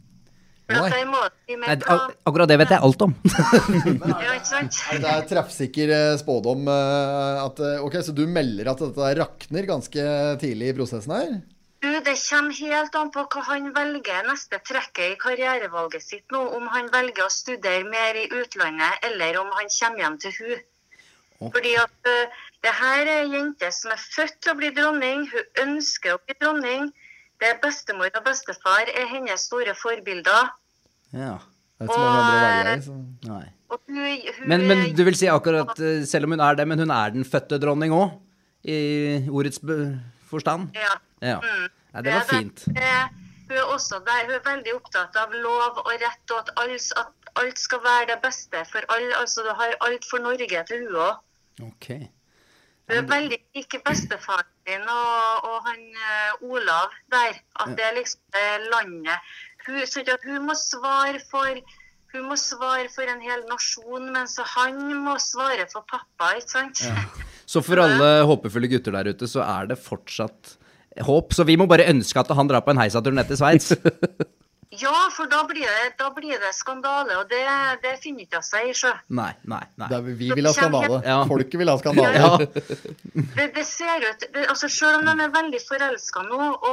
Speaker 8: For
Speaker 2: Nei.
Speaker 8: at der må det bli
Speaker 7: Nei,
Speaker 8: mer
Speaker 7: ak
Speaker 8: plan.
Speaker 7: akkurat det vet jeg alt om.
Speaker 8: Ja, ikke sant?
Speaker 2: Det er treffsikker eh, spådom eh, at eh, Ok, så du melder at dette rakner ganske tidlig i prosessen her?
Speaker 8: Du, det kommer helt an på hva han velger neste trekket i karrierevalget sitt nå. Om han velger å studere mer i utlandet, eller om han kommer hjem til hun. Fordi at eh, det her er ei jente som er født til å bli dronning. Hun ønsker å bli dronning. Det er bestemor og bestefar er hennes store forbilder.
Speaker 7: Ja.
Speaker 2: Det er ikke så mange andre veier, så.
Speaker 7: Nei.
Speaker 8: Og hun, hun
Speaker 7: Men, men
Speaker 8: er-
Speaker 7: du vil si akkurat, eh, selv om hun er det, men hun er den fødte dronning òg? I ordets be- forstand?
Speaker 8: Ja.
Speaker 7: Ja.
Speaker 8: Mm.
Speaker 7: Nei, det var
Speaker 8: er
Speaker 7: fint.
Speaker 8: det. Eh, Hun er også der, hun er veldig opptatt av lov og rett, og at alt, at alt skal være det beste for alle. Altså, du har alt for Norge til hun òg.
Speaker 7: Ok.
Speaker 8: Hun er veldig lik bestefaren din og, og han eh, Olav der. At det er liksom eh, landet. Hun, så ikke at hun må svare for hun må svare for en hel nasjon, mens han må svare for pappa, ikke sant?
Speaker 7: Så for alle håpefulle gutter der ute, så er det fortsatt håp. Så vi må bare ønske at han drar på en heisatur ned til Sveits.
Speaker 8: Ja, for da blir det, da blir det skandale, og det, det finner ikke seg i sjø.
Speaker 7: nei, nei, nei.
Speaker 2: Det er, vi vil ha skandale.
Speaker 7: Ja.
Speaker 2: Folket vil ha skandale.
Speaker 7: Ja.
Speaker 8: Det, det ser ut, det, altså Selv om de er veldig forelska nå, og,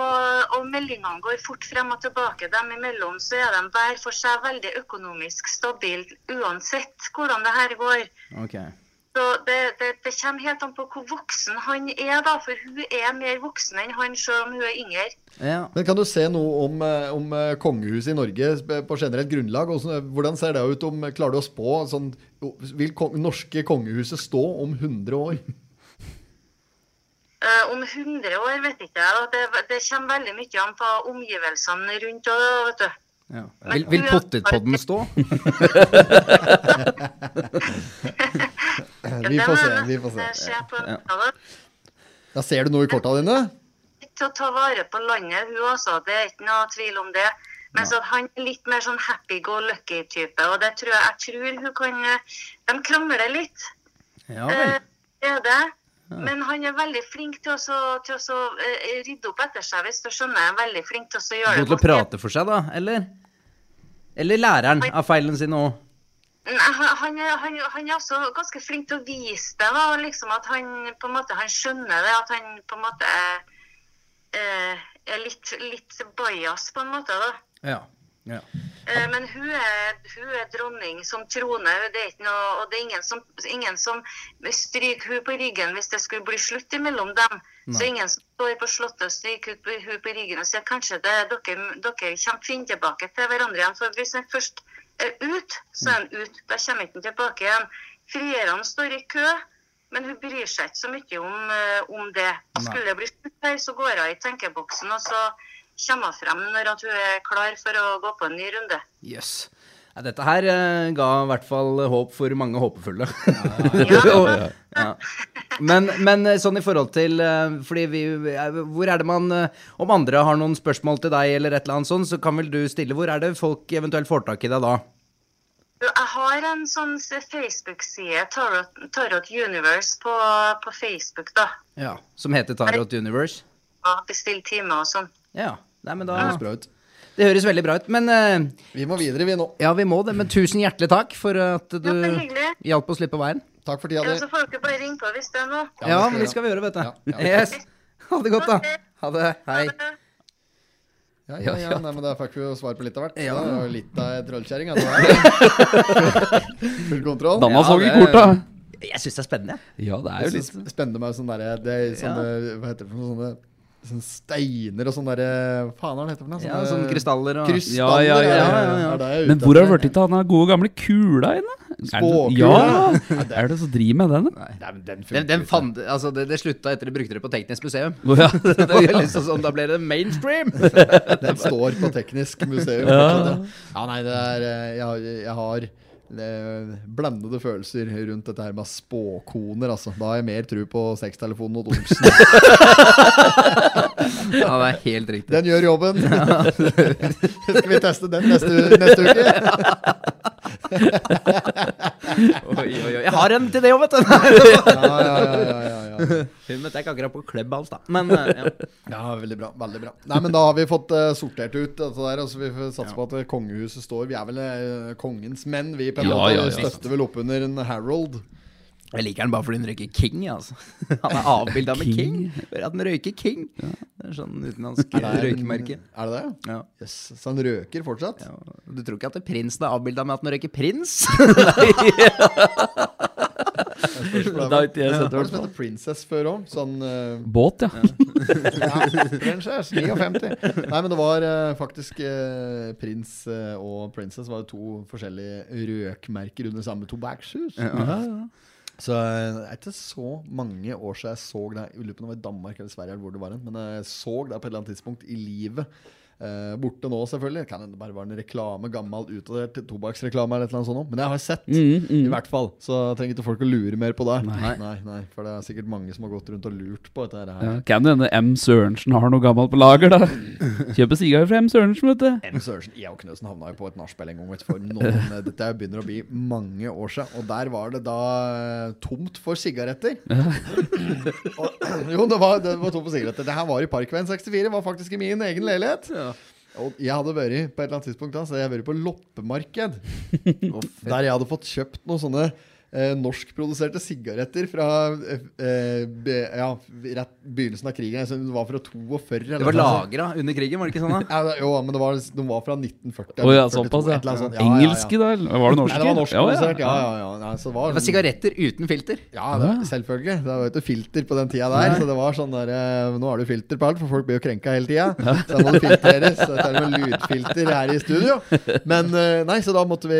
Speaker 8: og meldingene går fort frem og tilbake dem imellom, så er de hver for seg veldig økonomisk stabilt uansett hvordan det her går.
Speaker 7: Ok.
Speaker 8: Så det, det, det kommer helt an på hvor voksen han er, da, for hun er mer voksen enn han, selv om hun er yngre.
Speaker 7: Ja.
Speaker 2: Men kan du se noe om, eh, om eh, kongehuset i Norge sp- på generelt grunnlag? Hvordan, hvordan ser det ut om Klarer du å spå sånn jo, Vil kong, norske kongehuset stå om 100 år?
Speaker 8: Eh, om 100 år vet ikke jeg. da. Det, det kommer veldig mye an på omgivelsene rundt. Og, vet du.
Speaker 7: Ja. Vil, vil potetpodden stå?
Speaker 2: Vi får se. vi får se.
Speaker 8: se. På,
Speaker 7: Ja.
Speaker 8: ja.
Speaker 2: Ja, ser du noe i korta dine?
Speaker 8: til å ta vare på landet, hun altså. Det er ikke noe tvil om det. Mens at han er litt mer sånn happy-go-lucky-type, og det tror jeg, jeg tror hun kan eh, De krangler litt,
Speaker 7: Ja
Speaker 8: eh,
Speaker 7: vel.
Speaker 8: det er det. Men han er veldig flink til å, så- til å så, eh, rydde opp etter seg, hvis du skjønner. Han er veldig flink til å så gjøre
Speaker 7: God til å
Speaker 8: godt.
Speaker 7: prate for seg, da? Eller? Eller læreren av feilene sine òg?
Speaker 8: Nei, han, han, er- han, han er også ganske flink til å vise det. Da, og liksom at han på en måte han skjønner det. At han på en måte er, eh, er litt, litt bajas, på en måte. da.
Speaker 7: Ja. ja.
Speaker 8: Eh, Men hun er, hun er dronning som trone. Det er ikke noe, og det er ingen som, ingen som stryker hun på ryggen hvis det skulle bli slutt mellom dem. Så ingen som står på Slottet og stryker ut på- hun på ryggen og sier kanskje det, dere, dere kommer finne tilbake til hverandre igjen. For hvis han først er ut, så er han ut. Da kommer han ikke tilbake igjen. Frierne står i kø, men hun bryr seg ikke så mye om, eh, om det. Skulle det bli slutt her, så går hun i tenkeboksen, og så kommer hun frem når at hun er klar for å gå på en ny runde.
Speaker 7: Jøss. Nei, Dette her eh, ga i hvert fall håp for mange håpefulle. Og- ja. Men, men eh, sånn i forhold til eh, Fordi vi eh, Hvor er det man eh, Om andre har noen spørsmål til deg, eller et eller annet sånt, så kan vel du stille Hvor er det folk eventuelt får tak i deg da?
Speaker 8: Du, Jeg har en sånn Facebook-side, Tarot, Tarot Universe, på, på Facebook, da.
Speaker 7: Ja. Som heter Tarot Universe?
Speaker 8: Og bestill time og sånn.
Speaker 7: Ja. Nei, men
Speaker 2: Det
Speaker 7: da
Speaker 2: høres bra ut.
Speaker 7: Det høres veldig bra ut. Men eh,
Speaker 2: Vi må videre, vi nå.
Speaker 7: Ja, vi må det, men tusen hjertelig takk for at du
Speaker 8: Ja, det er hyggelig.
Speaker 7: hjalp oss litt på veien.
Speaker 2: Takk for tida
Speaker 8: Ja,
Speaker 2: di.
Speaker 8: så får dere bare ringe på hvis det er noe.
Speaker 7: Ja,
Speaker 2: vi
Speaker 7: men det skal vi gjøre, vet du.
Speaker 2: Ja, ja.
Speaker 7: Yes. Ha det godt, da. Ha det. Hei.
Speaker 2: Ja, ja, ja. Nei, men da fikk vi jo svar på litt av hvert.
Speaker 7: Ja.
Speaker 2: Det var jo litt av ei trollkjerring. altså. Full kontroll.
Speaker 3: Danna så
Speaker 7: det-
Speaker 3: ikke korta.
Speaker 7: Jeg syns det er spennende. jeg.
Speaker 3: Ja, det er jo
Speaker 2: Jeg
Speaker 3: litt
Speaker 2: synes det spennende med sånne der, det er sånne, Hva heter det for noe? Sånne, sånne steiner og sånne der, Faen, hva er det heter for noe?
Speaker 7: Ja, sånne krystaller sånn og
Speaker 2: krystaller,
Speaker 3: Ja, ja,
Speaker 2: er
Speaker 3: ja,
Speaker 2: det-
Speaker 7: ja, ja.
Speaker 2: er det jeg er
Speaker 3: Men
Speaker 2: ute
Speaker 3: hvor har
Speaker 2: etter?
Speaker 3: det blitt av den gode gamle kula inne? Er det-
Speaker 2: Spåkula?
Speaker 3: Ja! Er det så driv med den? da?
Speaker 2: Nei, men den funker
Speaker 7: Den, den
Speaker 2: ikke.
Speaker 7: fand, altså det, det slutta etter de brukte det på Teknisk museum.
Speaker 3: Å, ja.
Speaker 7: Det var liksom sånn, da ble det mainstream.
Speaker 2: Den står på Teknisk museum. Ja, ja nei, det er eh, Jeg, har- jeg har eh, blandede følelser rundt dette her med spåkoner, altså. Da har jeg mer tro på sextelefonen og Olsen.
Speaker 7: Ja, det er helt riktig.
Speaker 2: Den gjør jobben. Skal vi teste den neste, neste uke?
Speaker 7: Oi, oi, oi. Jeg har en til det òg, vet du.
Speaker 2: Ja, ja, ja, ja, ja, ja.
Speaker 7: Hun møtte jeg ikke akkurat på Clubhouse, da. Men eh, ja.
Speaker 2: Ja, veldig bra. veldig bra Nei, men Da har vi fått eh, sortert ut dette der. Altså, vi får satse på at eh, kongehuset står. Vi er vel eh, kongens menn, vi. på en
Speaker 3: Ja,
Speaker 2: måte
Speaker 3: ja, ja.
Speaker 2: Støtter vel opp under en Harold.
Speaker 7: Jeg liker den bare fordi den røyker King, altså. Han er avbilda med King. Bare at den røyker King. Det er sånn utenlandsk røykemerke.
Speaker 2: Er det det?
Speaker 7: Ja.
Speaker 2: Yes. Så han røker fortsatt?
Speaker 7: Ja, Du tror ikke at prinsen er avbilda med at han røyker prins?
Speaker 3: Det har ikke jeg sett i
Speaker 2: Hva er det
Speaker 3: hvert
Speaker 2: som
Speaker 3: fall.
Speaker 2: heter Princess før òg? Sånn eh,
Speaker 3: Båt, ja.
Speaker 2: ja, Princess 59. Nei, men det var eh, faktisk eh, prins eh, og princess var jo to forskjellige røkmerker under samme tobakkshus. Så eh, det er ikke så mange år siden jeg så det Jeg lurer på om det var i Danmark eller Sverige, eller hvor det var hen, men eh, jeg så det på et eller annet tidspunkt i livet. Eh, borte nå, selvfølgelig. Kan hende det bare var en reklame, gammel, utdatert tobakksreklame. eller et eller annet sånt nå. Men jeg har sett,
Speaker 3: Mm,
Speaker 2: i hvert fall. Så trenger ikke folk å lure mer på det. Nei. Nei, For det er sikkert mange som har gått rundt og lurt på dette her.
Speaker 3: ja. Kan det hende M. Sørensen har noe gammelt på lager, da? Kjøper sigarer fra M. Sørensen, vet du.
Speaker 2: M. Sørensen, jeg og Knøsen havna jo på et nachspiel en gang. Vet, du, for noen, eh, dette begynner å bli mange år siden. Og der var det da eh, tomt for sigaretter. og, jo, det var, det var tomt for sigaretter. Det her var i Parkveien 64. Var faktisk i min egen leilighet. Og jeg hadde vært på et eller annet tidspunkt da, så hadde jeg vært på loppemarked. der jeg hadde fått kjøpt noen sånne eh, norskproduserte sigaretter fra eh, eh, be, ja, rett begynnelsen av krigen. Jeg synes det var fra 42. eller
Speaker 7: Det var
Speaker 2: noe sånt.
Speaker 7: lagra under krigen, var det ikke sånn? da?
Speaker 2: Ja, det, jo, men det var, de var fra 1940.
Speaker 3: Å ja,
Speaker 2: 1942,
Speaker 3: såpass,
Speaker 2: et
Speaker 3: ja.
Speaker 2: eller annet sånt. Ja, ja, ja.
Speaker 3: Engelske, da? eller Var det norske?
Speaker 2: Nei, det var norskprodusert.
Speaker 3: ja.
Speaker 2: Ja, ja, ja. Nei, så det var,
Speaker 7: Det var sigaretter uten filter.
Speaker 2: Ja, det, selvfølgelig. Det var jo ikke filter på den tida der. Så det var sånn der eh, Nå har du filter på alt, for folk blir jo krenka hele tida. Så da må det filtreres. Så dette er med lydfilter her i studio. Men eh, nei, så da måtte vi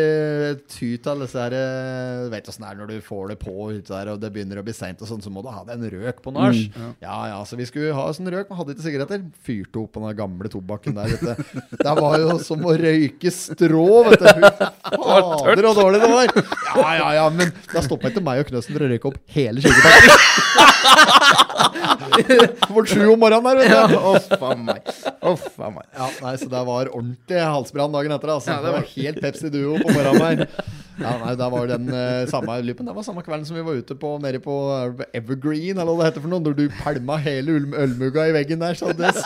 Speaker 2: ty til disse her eh, Du vet åssen det er når du får det på ute der, og det begynner å bli seint og sånn, så må du ha deg en røk på nach. Mm. Ja ja, så vi skulle ha oss en røk, men hadde ikke sigaretter. Fyrte opp på den gamle tobakken der, vet du. Det var jo som å røyke strå, vet du. Fy Fader, så dårlig det var. Ja ja ja, men da stoppa ikke meg og Knøsen for å røyke opp hele 20-pakken. Vårt sju om morgenen der, vet du.
Speaker 7: Uff a meg. Uff a meg.
Speaker 2: Ja, nei, så det var ordentlig halsbrann dagen etter. Altså. det, var... helt Pepsi Duo på morgenen her. Ja, nei, det var den eh, samme lupen. Det var samme kvelden som vi var ute på nede på eh, Evergreen, eller hva det heter for noe, når du pælma hele ulm- ølmugga i veggen der. Så det,
Speaker 7: Jeg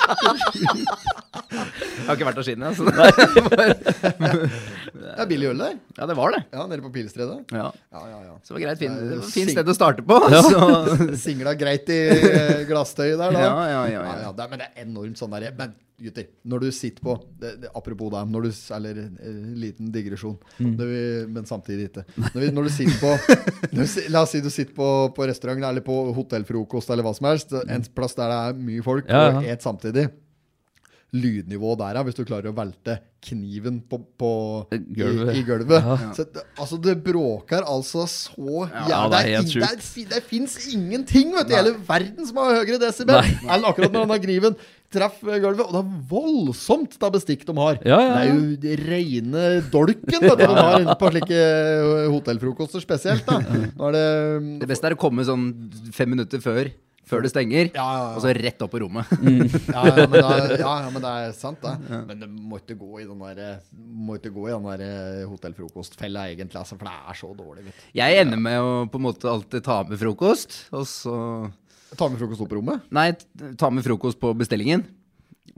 Speaker 7: har ikke vært der siden, altså. jeg. Så det, var,
Speaker 2: det er billig øl der.
Speaker 7: ja, det var det.
Speaker 2: Ja, nede på Pilestredet.
Speaker 7: Ja.
Speaker 2: Ja, ja, ja.
Speaker 7: Så det var greit. Fin, det var et
Speaker 2: Sing-
Speaker 7: fint sted å starte på. Så,
Speaker 2: Singla greit i eh, glasstøyet der, da.
Speaker 7: Ja, ja, ja, ja.
Speaker 2: det, er- men det er enormt sånn der Men gutter, når du sitter på det, det, Apropos deg, når du s- Eller eh, liten digresjon, når vi, men samtidig ikke. Når, vi, når du sitter på når du, si- La oss si du sitter på, på restaurant eller på hotellfrokost eller hva som helst, en plass der det er mye folk,
Speaker 3: Ja,
Speaker 2: og
Speaker 3: ja.
Speaker 2: et samtidig. Lydnivået der, ja, hvis du klarer å velte kniven på, på
Speaker 3: Gulvet.
Speaker 2: I, i gulvet. Så, det- altså, det bråker altså så ja,
Speaker 3: Ja,
Speaker 2: det,
Speaker 3: det er
Speaker 2: er,
Speaker 3: helt
Speaker 2: in-
Speaker 3: sjukt.
Speaker 2: det, er, fi- det fins ingenting vet du, i hele verden som har høyere desibel enn akkurat når denne kniven traff eh, gulvet. Og det er voldsomt da bestikk de har.
Speaker 3: Ja, ja, ja.
Speaker 2: Det er jo reine dolken vet du, de har inne på slike eh, hotellfrokoster spesielt. da. Nå er det
Speaker 7: det beste er å komme sånn fem minutter før. Før det stenger,
Speaker 2: Ja, ja, ja.
Speaker 7: og så rett opp på rommet.
Speaker 2: ja, ja, men det er, ja, ja, men det er sant, det. Men det må ikke gå i den der, må ikke gå i den der eh, hotellfrokostfella, egentlig, altså, for det er så dårlig. Vet. du.
Speaker 7: Jeg ender med å på en måte alltid ta med frokost, og så
Speaker 2: Ta med frokost opp på rommet.
Speaker 7: Nei, t- ta med frokost på bestillingen.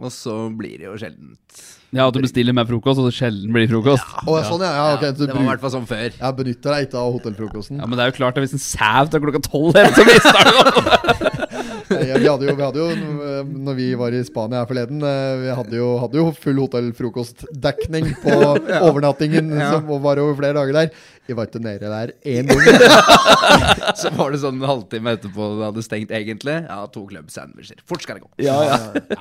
Speaker 7: Og så blir det jo sjeldent.
Speaker 3: Ja, at du bestiller med frokost, og det sjelden blir frokost.
Speaker 2: Å, ja, sånn, ja. ja, ok,
Speaker 7: det
Speaker 2: så
Speaker 7: var i
Speaker 2: bruk-
Speaker 7: hvert fall sånn før.
Speaker 2: Jeg benytter deg ikke av hotellfrokosten.
Speaker 3: Ja, Men det er jo klart at hvis en sau tar klokka tolv her, så mister han jo
Speaker 2: Ja, vi, hadde jo, vi hadde jo, eh, når vi var i Spania her forleden, eh, vi hadde jo, hadde jo full hotellfrokostdekning på overnattingen, som var over flere dager der. Vi var ikke nede der én gang.
Speaker 7: Så var det sånn en halvtime etterpå det hadde stengt egentlig. Ja, to club sandwicher. Fort skal det gå.
Speaker 2: Ja, ja.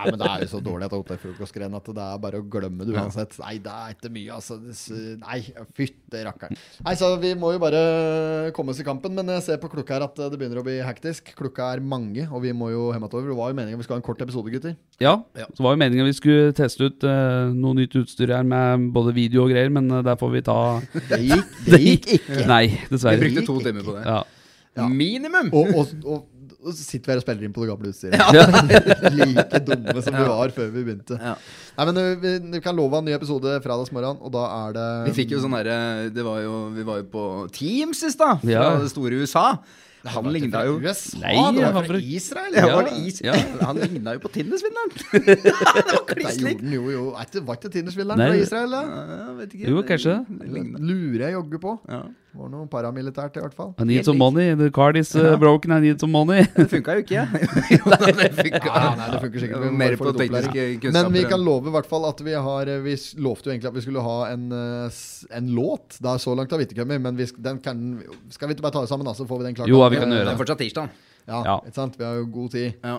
Speaker 2: men det er jo så dårlig at hotellfrokostgreiene at det er bare å glemme det uansett. Nei, det er ikke mye, altså. Det s- Nei, fytte rakkeren. Nei, så vi må jo bare komme oss i kampen, men jeg ser på klokka her at det begynner å bli hektisk. Klokka er mange, og vi må jo hjemover. Det var jo meningen vi skulle ha en kort episode, gutter.
Speaker 3: Ja, så var jo meningen vi skulle teste ut eh, noe nytt utstyr her med både video og greier, men eh, der får vi ta
Speaker 2: Det gikk, det gikk ikke.
Speaker 3: Nei,
Speaker 7: Vi
Speaker 3: dessverre.
Speaker 7: brukte to timer på det.
Speaker 3: Ja.
Speaker 7: Minimum!
Speaker 2: Og, og, og, og sitter vi her og spiller inn på det gamle utstyret. like dumme som vi var før vi begynte.
Speaker 7: Ja.
Speaker 2: Nei, men ø, vi, vi kan love en ny episode fredagsmorgen, og da er det
Speaker 7: Vi fikk jo sånn derre det var jo- Vi var jo på Teams i stad, fra
Speaker 3: Ja.
Speaker 7: det store USA. Han ligna jo
Speaker 2: USA?
Speaker 3: Nei,
Speaker 2: Ah, det
Speaker 3: han
Speaker 2: var
Speaker 3: var
Speaker 2: fra
Speaker 3: fra-
Speaker 2: Israel?
Speaker 7: Ja,
Speaker 2: eller?
Speaker 7: var det is?
Speaker 3: Ja.
Speaker 7: Han ligna jo på Tindersvindleren! det var
Speaker 2: Nei,
Speaker 7: kliss
Speaker 2: gjorde
Speaker 7: lik!
Speaker 2: den jo, jo. Er ikke- Var ikke Tindersvilleren
Speaker 3: Nei.
Speaker 2: fra Israel, da?
Speaker 7: Ja, vet ikke.
Speaker 3: Jo, kanskje det.
Speaker 2: Lurer jeg jogger på.
Speaker 7: Ja.
Speaker 2: Var noe paramilitært, i hvert fall.
Speaker 3: I need some money. The card is uh, broken. I need some money.
Speaker 7: Det funka jo ikke. Jo, da, det funka.
Speaker 2: Ja, Ah, nei, det funker sikkert.
Speaker 7: Det var
Speaker 2: men
Speaker 7: mer
Speaker 2: bare for
Speaker 7: på
Speaker 2: litt opplæring.
Speaker 7: tekniske kunnskaper
Speaker 2: Men vi
Speaker 7: enn-
Speaker 2: kan love i hvert fall at vi har eh, Vi s- lovte jo egentlig at vi skulle ha en, eh, s- en låt. Det er så langt har vi ikke kommet, men vi, sk- den kan, skal vi ikke bare ta det sammen, da? Så får vi den klart.
Speaker 3: Jo,
Speaker 2: da.
Speaker 3: vi kan
Speaker 2: Eh,
Speaker 3: gjøre
Speaker 7: Det
Speaker 3: det.
Speaker 7: er fortsatt tirsdag.
Speaker 2: Ja,
Speaker 3: Ja.
Speaker 2: ikke sant? Vi har jo god tid.
Speaker 7: Ja.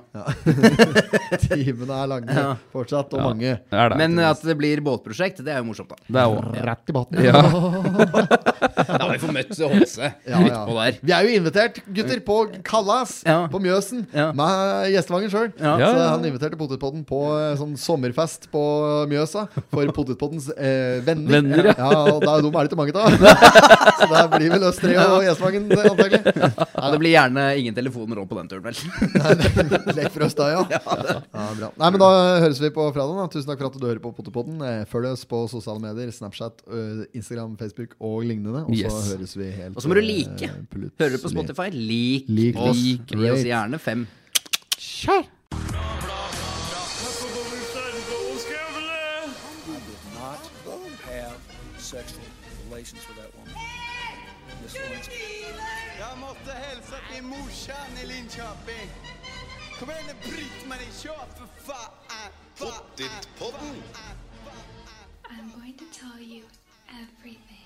Speaker 2: Timene er lange
Speaker 7: Ja.
Speaker 2: fortsatt, og mange.
Speaker 3: Det er det.
Speaker 7: Men at det blir båtprosjekt, det er jo morsomt, da.
Speaker 3: det er også.
Speaker 2: Rett i båten.
Speaker 3: Ja.
Speaker 7: Da har vi fått møtt Holse
Speaker 2: Ja, ja.
Speaker 7: utpå der.
Speaker 2: Vi er jo invitert, gutter, på Kallas
Speaker 7: Ja.
Speaker 2: på Mjøsen.
Speaker 7: Ja.
Speaker 2: Med gjestevangen sjøl.
Speaker 7: Ja.
Speaker 3: Ja,
Speaker 2: Så
Speaker 3: ja, ja.
Speaker 2: han inviterte Potetpodden på eh, sånn sommerfest på Mjøsa. For Potetpoddens eh, venner.
Speaker 3: Venner,
Speaker 2: ja. og da, dem er det ikke mange av. Så da blir vel oss tre og gjestevangen, eh, antagelig.
Speaker 7: Ja, det blir gjerne ingen telefoner òg på den turen, vel.
Speaker 2: Lek for oss da, ja. ja bra. Nei, men Da høres vi på fredag. da Tusen takk for at du hører på Potetpodden. Eh, Følg oss på sosiale medier. Snapchat, ø, Instagram, Facebook og lignende. Og så
Speaker 3: Yes.
Speaker 2: høres vi helt
Speaker 7: Og så må du
Speaker 2: eh,
Speaker 7: like.
Speaker 2: plutselig.
Speaker 7: Hører du på Spotify, lik,
Speaker 2: Lik
Speaker 7: oss.
Speaker 2: oss.
Speaker 7: Gi oss gjerne fem.
Speaker 4: You did not have sexual relations with that woman. Miss Lewinsky.
Speaker 5: Jag måste hälsa till morsan i Linköping. Kom igen nu Britt-Marie, kör för fan! Fa-
Speaker 6: I'm going to tell you everything.